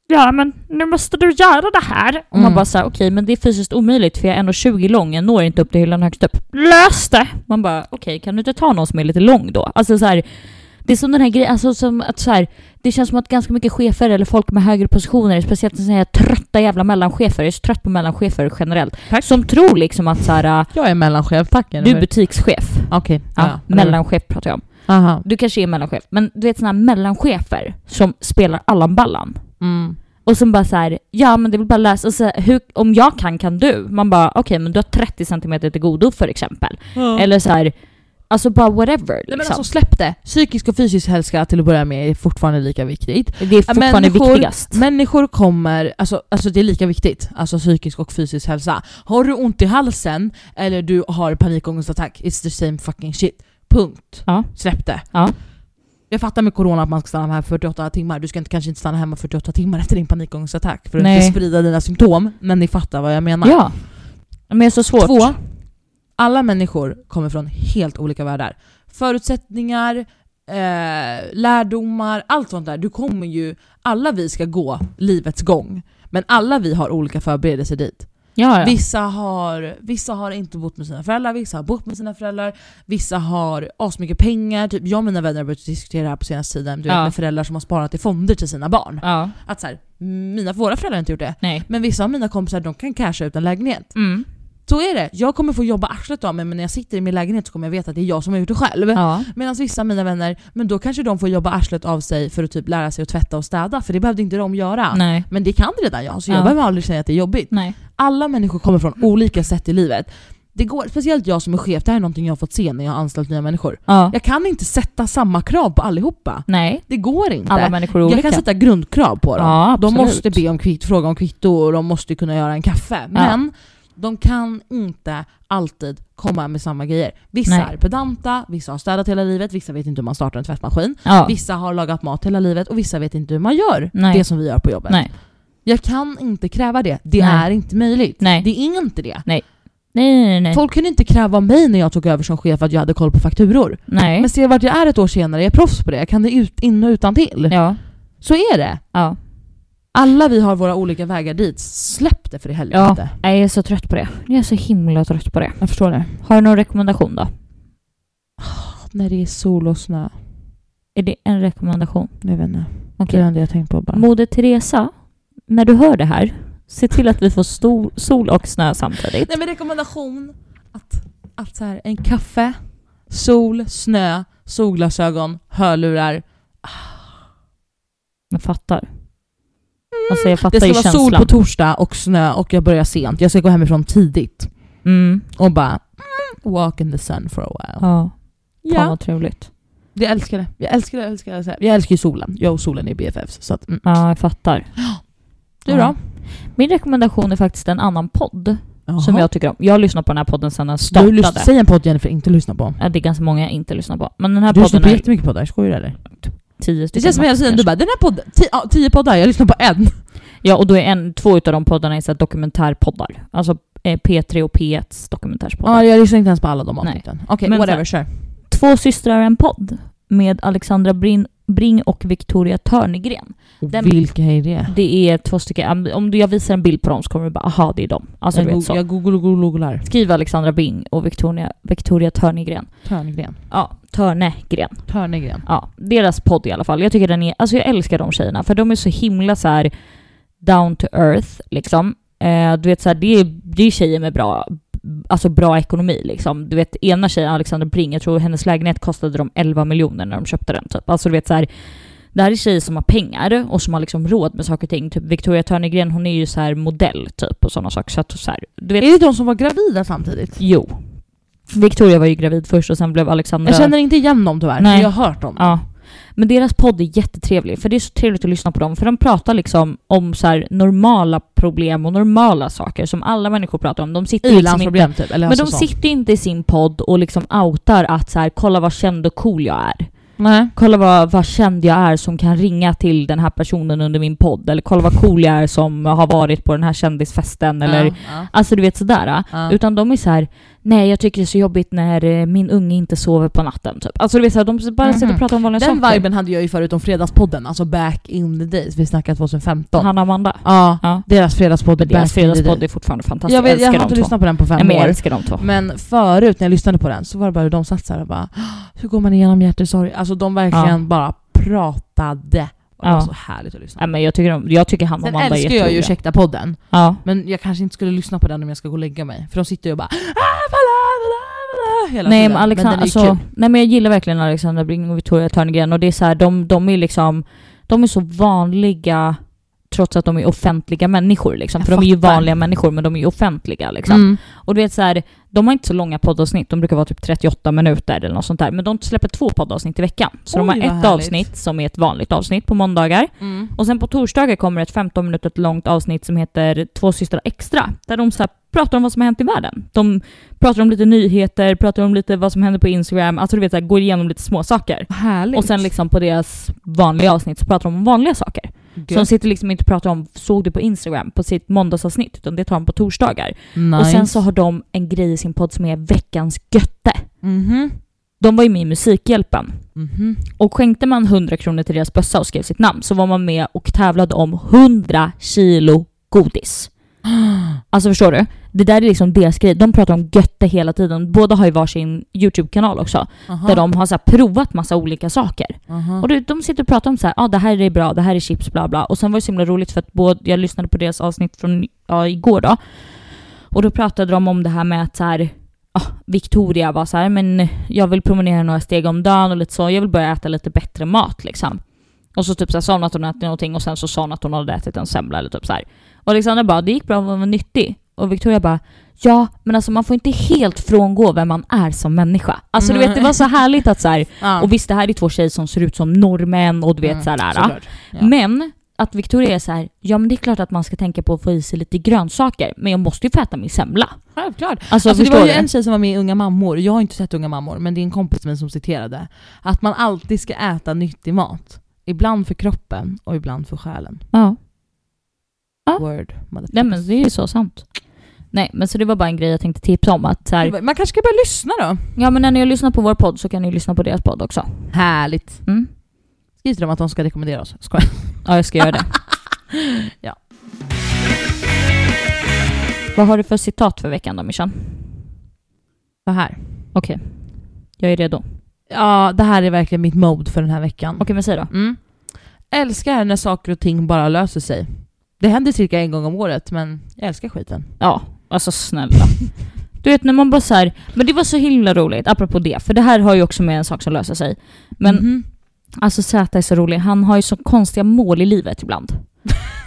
Ja men nu måste du göra det här. Och man
Mm.
bara såhär okej men det är fysiskt omöjligt för jag är ändå 20 lång, jag når inte upp till hyllan högst upp. Lös det! Man bara okej kan du inte ta någon som är lite lång då? Alltså så här, det är som den här grejen, alltså som att så här, det känns som att ganska mycket chefer eller folk med högre positioner, speciellt såna här trötta jävla mellanchefer, jag är så trött på mellanchefer generellt, som tror liksom att så här,
jag är mellanchef, tack
du är
Jennifer.
butikschef.
Okej.
Ja,
ja.
mellanchef pratar jag om.
Aha.
Du kanske är mellanchef, men du vet såna här mellanchefer som spelar Allan-ballan.
Mm.
Och som bara så här, ja men det vill bara läsa, och så här, hur, om jag kan kan du. Man bara okej men du har 30 centimeter till godo för exempel. Eller så här, alltså bara whatever
Nej,
liksom.
men alltså släpp det. Psykisk och fysisk hälsa till att börja med är fortfarande lika viktigt.
det är fortfarande
människor-
viktigast.
Människor kommer, alltså, alltså det är lika viktigt, alltså psykisk och fysisk hälsa. Har du ont i halsen eller du har panikångestattack, it's the same fucking shit. Punkt.
Ja.
Släpp det.
Ja.
Jag fattar med corona att man ska stanna hemma 48 timmar, du ska inte, kanske inte stanna hemma 48 timmar efter din panikångestattack för att
Nej.
inte sprida dina symptom, men ni fattar vad jag menar.
Ja. Men det är så svårt.
Två, alla människor kommer från helt olika världar. Förutsättningar, eh, lärdomar, allt sånt där. Du kommer ju, alla vi ska gå livets gång. Men alla vi har olika förberedelser dit.
Ja, ja.
Vissa, har, vissa har inte bott med sina föräldrar, vissa har bott med sina föräldrar, vissa har asmycket pengar. Typ jag och mina vänner har börjat diskutera det här på senaste tiden, du
Ja.
vet med föräldrar som har sparat i fonder till sina barn.
ja.
Att så här, mina, våra föräldrar har inte gjort det.
Nej.
Men vissa av mina kompisar de kan casha ut en lägenhet.
Mm.
Så är det. Jag kommer få jobba arslet av mig men när jag sitter i min lägenhet så kommer jag veta att det är jag som har gjort det själv.
Ja.
Medan vissa av mina vänner, men då kanske de får jobba arslet av sig för att typ lära sig att tvätta och städa för det behövde inte de göra.
Nej.
Men det kan redan jag så jag
Ja.
behöver aldrig säga att det är jobbigt.
Nej.
Alla människor kommer från olika sätt i livet. Det går, speciellt jag som är chef, det här är någonting jag har fått se när jag har anställt nya människor.
Ja.
Jag kan inte sätta samma krav på allihopa.
Nej.
Det går inte.
Alla människor är
jag
olika.
kan sätta grundkrav på dem.
ja,
De
absolut.
måste be om kvitt, fråga om kvitto och de måste kunna göra en kaffe. Men de kan inte alltid komma med samma grejer. Vissa
Nej.
är pedanta, vissa har städat hela livet, vissa vet inte hur man startar en tvättmaskin,
Ja.
vissa har lagat mat hela livet och vissa vet inte hur man gör
Nej.
det som vi gör på jobbet.
Nej.
Jag kan inte kräva det. Det
Nej.
är inte möjligt.
Nej.
Det är inte det.
Nej, nej, nej, nej.
Folk kunde inte kräva av mig när jag tog över som chef att jag hade koll på fakturor.
nej.
Men se vart jag är ett år senare, jag är proffs på det. Jag kan det ut, in och utan till.
Ja.
Så är det.
Ja.
Alla vi har våra olika vägar dit. Släpp det för i
ja.
helvete.
Nej, Jag är så trött på det. Jag är så himla trött på det.
Jag förstår det.
Har du någon rekommendation då?
När det är sol och snö.
Är det en rekommendation?
Jag vet inte.
Okej.
enda jag tänkt på bara.
Moder Teresa, när du hör det här, se till att vi får stol, sol och snö samtidigt.
Nej men rekommendation. Att, att så här, en kaffe, sol, snö, solglasögon, hörlurar.
Jag fattar. Alltså jag fattar
Mm. Det ska
ju
vara
känslan.
sol på torsdag och snö och jag börjar sent. Jag ska gå hemifrån tidigt.
mm.
Och bara mm, walk in the sun for a while.
Ja, fan
Ja.
vad trevligt.
Jag älskar det. Jag älskar det. Jag älskar, det. jag älskar ju solen. Jag och solen är BFFs. Så att, mm.
Ja, jag fattar.
Du då?
Min rekommendation är faktiskt en annan podd som jag tycker om. Jag har lyssnat på den här podden sedan den
du har ju
startade.
lyssnat, säg en podd Jennifer inte lyssna på.
Ja, det är ganska många jag inte lyssnar på. Men den här
Du lyssnar
podden
på
är
jättemycket poddar, skojar du eller?
tio stycken.
Det känns som hela tiden
kanske.
du bara den här podden, tio, ja, tio poddar, jag lyssnar på en.
Ja, och då är en, två utav de poddarna är så här dokumentärpoddar. Alltså eh, P3 och P1s dokumentärpoddar.
Ja, jag lyssnar inte ens på alla de
Nej.
avsnitten. Okej,
Men
whatever, kör.
Två systrar en podd med Alexandra Brin, Bring och Victoria Törngren. Den-
Vilka är det?
Det är två stycken, om- om du- jag visar en bild på dem så kommer du bara aha det är dem. Alltså
jag,
du vet
goog-
så.
jag googlar, googlar.
Skriv Alexandra Bring och Victoria, Victoria Törngren.
Törngren.
Ja, Törnegren.
Törnegren.
Ja, deras podd i alla fall. Jag tycker den är, alltså jag älskar de tjejerna för de är så himla så här down to earth liksom. Eh, du vet så här, det är, det är tjejer med bra, alltså bra ekonomi liksom. Du vet ena tjejen, Alexandra Bring, jag tror hennes lägenhet kostade dem 11 miljoner när de köpte den typ. Alltså du vet så här, det här är tjejer som har pengar och som har liksom råd med saker och ting. Typ Victoria Törnegren hon är ju så här modell typ och sådana saker. Så att så här, du vet,
Är det de som var gravida samtidigt?
jo. Victoria var ju gravid först och sen blev Alexandra...
Jag känner inte igen dem tyvärr,
Nej.
men jag har hört dem.
Ja. Men deras podd är jättetrevlig, för det är så trevligt att lyssna på dem, för de pratar liksom om så här normala problem och normala saker som alla människor pratar om. De sitter liksom inte,
U-landsproblem typ, eller
men de
alltså sånt.
sitter inte i sin podd och liksom outar att så här, kolla vad känd och cool jag är.
Nej.
Kolla vad, vad känd jag är som kan ringa till den här personen under min podd, eller kolla vad cool jag är som har varit på den här kändisfesten, eller
Ja, ja,
alltså du vet sådär.
ja.
Utan de är så här, nej jag tycker det är så jobbigt när eh, min unge inte sover på natten typ. Alltså du vet så här, de bara sitter och
Mhm.
pratar om vanliga
Den
saker.
viben hade jag ju förut om Fredagspodden, alltså back in the days. Vi snackar 2015.
Hanna och Amanda.
Ja,
Ja.
deras Fredagspodd
Men
är
deras
back in the
fredagspodd
days.
är fortfarande fantastisk.
Jag,
Jag,
vet, jag
älskar
har inte
dem två.
lyssnat på den på fem
Nej, men jag
år.
älskar dem två.
Men förut när jag lyssnade på den så var det bara hur de satt såhär och bara "Åh, Hur går man igenom hjärtesorg? Alltså de verkligen bara pratade. Och det
Ja.
var så härligt att lyssna
Nej, men jag tycker, de, jag tycker Hanna och
Sen
Amanda är
älskar jag ju
jätteroliga.
ursäkta podden
Ja.
men jag kanske inte skulle lyssna på den om jag ska gå och lägga mig. För de sitter ju och bara "Ah, bala, bala, bala", hela
Nej,
tiden.
men Alexander,
den är ju
alltså,
kul.
nej men jag gillar verkligen Alexandra Bring och Victoria Törngren och det är så här, de, de är liksom, de är så vanliga trots att de är offentliga människor liksom.
Jag
För de är ju
fattar.
vanliga människor men de är ju offentliga liksom.
Mm.
Och du vet så här, de har inte så långa poddavsnitt, de brukar vara typ 38 minuter eller något sånt där. Men de släpper två poddavsnitt i veckan. Så de
Oj,
har ett
vad härligt.
avsnitt som är ett vanligt avsnitt på måndagar.
Mm.
Och sen på torsdagar kommer ett 15 minuter långt avsnitt som heter Två systrar extra, där de så här pratar om vad som har hänt i världen. De pratar om lite nyheter, pratar om lite vad som händer på Instagram, alltså du vet så här, går igenom lite små saker.
Härligt.
Och sen liksom på deras vanliga avsnitt så pratar de om vanliga saker. Så de
Gött.
sitter liksom inte och pratar om såg du på Instagram på sitt måndagsavsnitt, utan det tar de på torsdagar.
nice.
Och sen så har de en grej i sin podd som är veckans götte.
Mhm.
De var ju med i Musikhjälpen.
Mhm.
Och skänkte man 100 kronor till deras bössa och skrev sitt namn så var man med och tävlade om 100 kilo godis. Alltså förstår du? Det där är liksom deras grej. De pratar om götte hela tiden. Båda har ju varsin YouTube-kanal också.
Aha.
Där de har så här provat massa olika saker.
Aha.
Och du, vet, de sitter och pratar om så här, ah, det här är bra, det här är chips, bla bla. Och sen var det så himla roligt för att både, jag lyssnade på deras avsnitt från ja, igår då. Och då pratade de om det här med att så här, ah, Victoria var så här, men jag vill promenera några steg om dagen och lite så. Jag vill börja äta lite bättre mat liksom. Och så typ så här, sa hon att hon ätit någonting och sen så sa hon att hon hade ätit en semla eller typ så här. Och Alexandra bara, det gick bra, hon var nyttig. Och Victoria bara, ja men alltså man får inte helt frångå vem man är som människa. Alltså du vet det var så härligt att så här,
Ja.
och visst, det här är två tjejer som ser ut som norrmän och du vet
Mm,
sådär.
såklart. Ja.
Men att Victoria är så här, ja men det är klart att man ska tänka på att få i sig lite grönsaker, men jag måste ju få äta min semla.
Självklart.
Alltså,
Alltså, det
förstår
var ju
du?
en tjej som var med i Unga mammor, jag har inte sett Unga mammor, men det är en kompis till mig som citerade. Att man alltid ska äta nyttig mat. Ibland för kroppen och ibland för själen.
Ja. Ja.
Word. motherfucker.
Nej men det är ju så sant. Nej men så det var bara en grej jag tänkte tipsa om att så här,
Man kanske ska börja lyssna då?
ja men när ni har lyssnat på vår podd så kan ni lyssna på deras podd också.
Härligt.
Mm.
Skriv till dem att de ska rekommendera oss. Skojar.
Ja jag ska göra det.
(laughs) Ja.
Vad har du för citat för veckan då Mishan?
Så här.
Okej, jag är redo.
Ja, det här är verkligen mitt mode för den här veckan.
Okej men säg då.
Mm. Älskar när saker och ting bara löser sig. Det händer cirka en gång om året, men jag älskar skiten.
Ja, alltså snälla. Du vet när man bara så här, men det var så himla roligt, apropå det, för det här har ju också med en sak som löser sig. Men
Mhm. (laughs)
alltså Z är så rolig, han har ju så konstiga mål i livet ibland.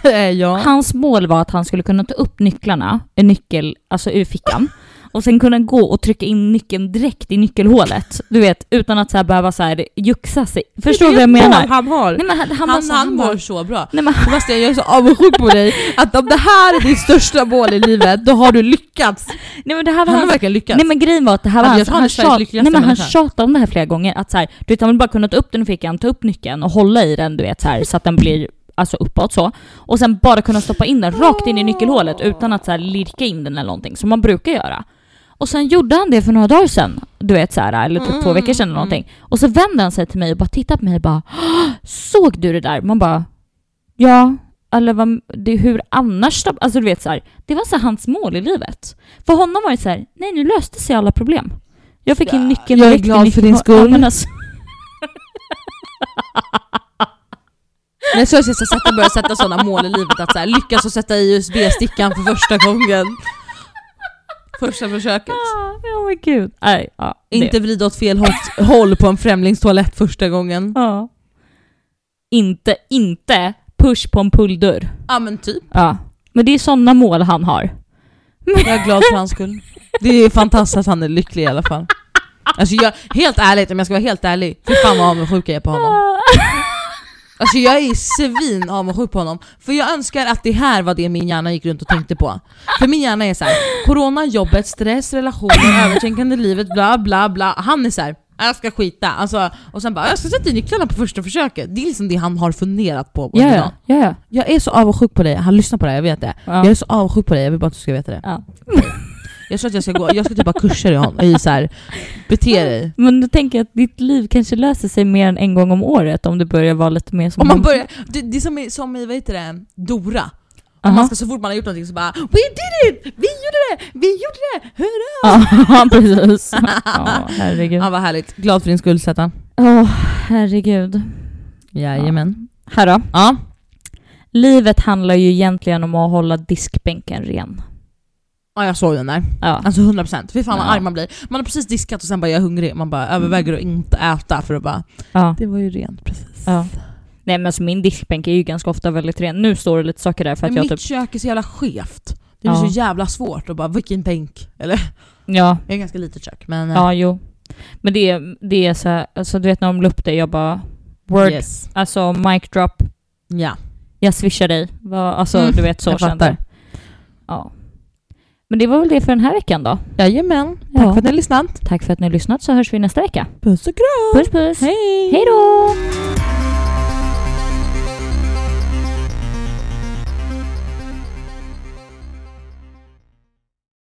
Eh, ja.
Hans mål var att han skulle kunna ta upp nycklarna, en nyckel, alltså ur fickan, och sen kunna gå och trycka in nyckeln direkt i nyckelhålet. Du vet, utan att så här behöva så här juxa sig. Förstår du vad jag
Vilket mål
menar?
Han har.
Nej, men han, han,
han,
var
han,
så- han bara-
mår så bra.
Nej men
Sebastian, jag är så avundsjuk på dig att om det här är ditt största mål i livet, då har du lyckats.
Nej men det här var
Han har
hans
verkligen lyckats.
Nej men grejen var att det här var
Ja,
hans,
jag tror han
han,
är Sveriges
tjat, nej,
lyckligaste
men han
människa.
tjatade om det här flera gånger. Att så här, du vet, han vill bara kunna ta upp den i fickan, ta upp nyckeln och hålla i den du vet, så, här, så att den blir alltså, uppåt så. Och sen bara kunna stoppa in den rakt in i nyckelhålet utan att så här, lirka in den eller någonting som man brukar göra. Och sen gjorde han det för några dagar sedan, du vet så här, eller typ
Mm,
två veckor sedan eller någonting. Och så vände han sig till mig och bara tittade på mig och bara "Åh, “Såg du det där?” Man bara “Ja” eller vad, det, hur annars då? Alltså du vet så här, det var så här, hans mål i livet. För honom var det så här, nej nu löste sig alla problem. Jag fick in nyckeln
jag är
direkt i
glad för din
nyckelhålet." (laughs) Ja,
skull.
men alltså,
Nej, så jag ska sätta, börja sätta sådana mål i livet, att så här, lyckas och sätta i USB-stickan för första gången. Första försöket.
ja men gud. Nej, ja, det-
Inte vrida åt fel hå- håll på en främlingstoalett första gången.
Ja. Inte, inte push på en pulldörr.
Ja men typ.
Ja. Men det är sådana mål han har.
Jag är glad för hans skull. Det är fantastiskt att han är lycklig i alla fall. Alltså jag, helt ärligt, om jag ska vara helt ärlig, fy fan vad avundsjuk jag är på honom. Alltså jag är svin avundsjuk på honom. För jag önskar att det här var det min hjärna gick runt och tänkte på. För min hjärna är så här: corona, jobbet, stress, relationer, övertänkande i livet, bla bla bla. Han är så här. jag ska skita. Alltså, och sen bara, jag ska sätta i nycklarna på första försöket. Det är liksom det han har funderat på. under
Ja, ja,
dagen.
ja, ja.
Jag är så avundsjuk på dig, han lyssnar på det här, jag vet det.
Ja.
Jag är så avundsjuk på dig, jag vill bara att du ska veta det.
Ja.
Jag tror att jag ska gå, jag ska typ ha kurser i honom, (laughs) i så här, bete dig.
Men då tänker jag att ditt liv kanske löser sig mer än en gång om året om du börjar vara lite mer som
Om man
hon.
börjar, det, det är som i, som i vad heter det, Dora. Om
Aha.
man ska så fort man har gjort någonting så bara We did it! Vi gjorde det! Vi gjorde det! Hurra!
(laughs) Ja, precis. Ja, herregud.
(laughs) Ja vad härligt, glad för din skull Zäta.
Åh, herregud.
Jajamän.
Här då.
Ja.
Livet handlar ju egentligen om att hålla diskbänken ren.
ja, jag såg den där.
Ja.
Alltså 100%, fy fan vad
Ja.
arg man blir. Man har precis diskat och sen bara jag är hungrig, man bara överväger att inte äta för att bara
ja.
Mm. Det var ju rent precis.
Ja. Nej men alltså min diskbänk är ju ganska ofta väldigt ren. Nu står det lite saker där för att
Men
jag
mitt
typ...
kök är så jävla skevt. Det är
Ja.
så jävla svårt att bara vilken bänk, eller?
Ja,
Jag är ganska litet kök men...
ja jo. Men det är, det är så här, alltså du vet när de la upp det, jag bara... Word.
eh, Yes.
Alltså mic drop.
Ja.
Jag swishar dig. Va- Alltså
Mm,
du vet så
jag
kände
fattar.
Ja. Men det var väl det för den här veckan då.
Jajamän. Tack
Ja.
för att ni har lyssnat.
Tack för att ni har lyssnat så hörs vi nästa vecka.
Puss och kram!
Puss puss!
Hej!
Hej då!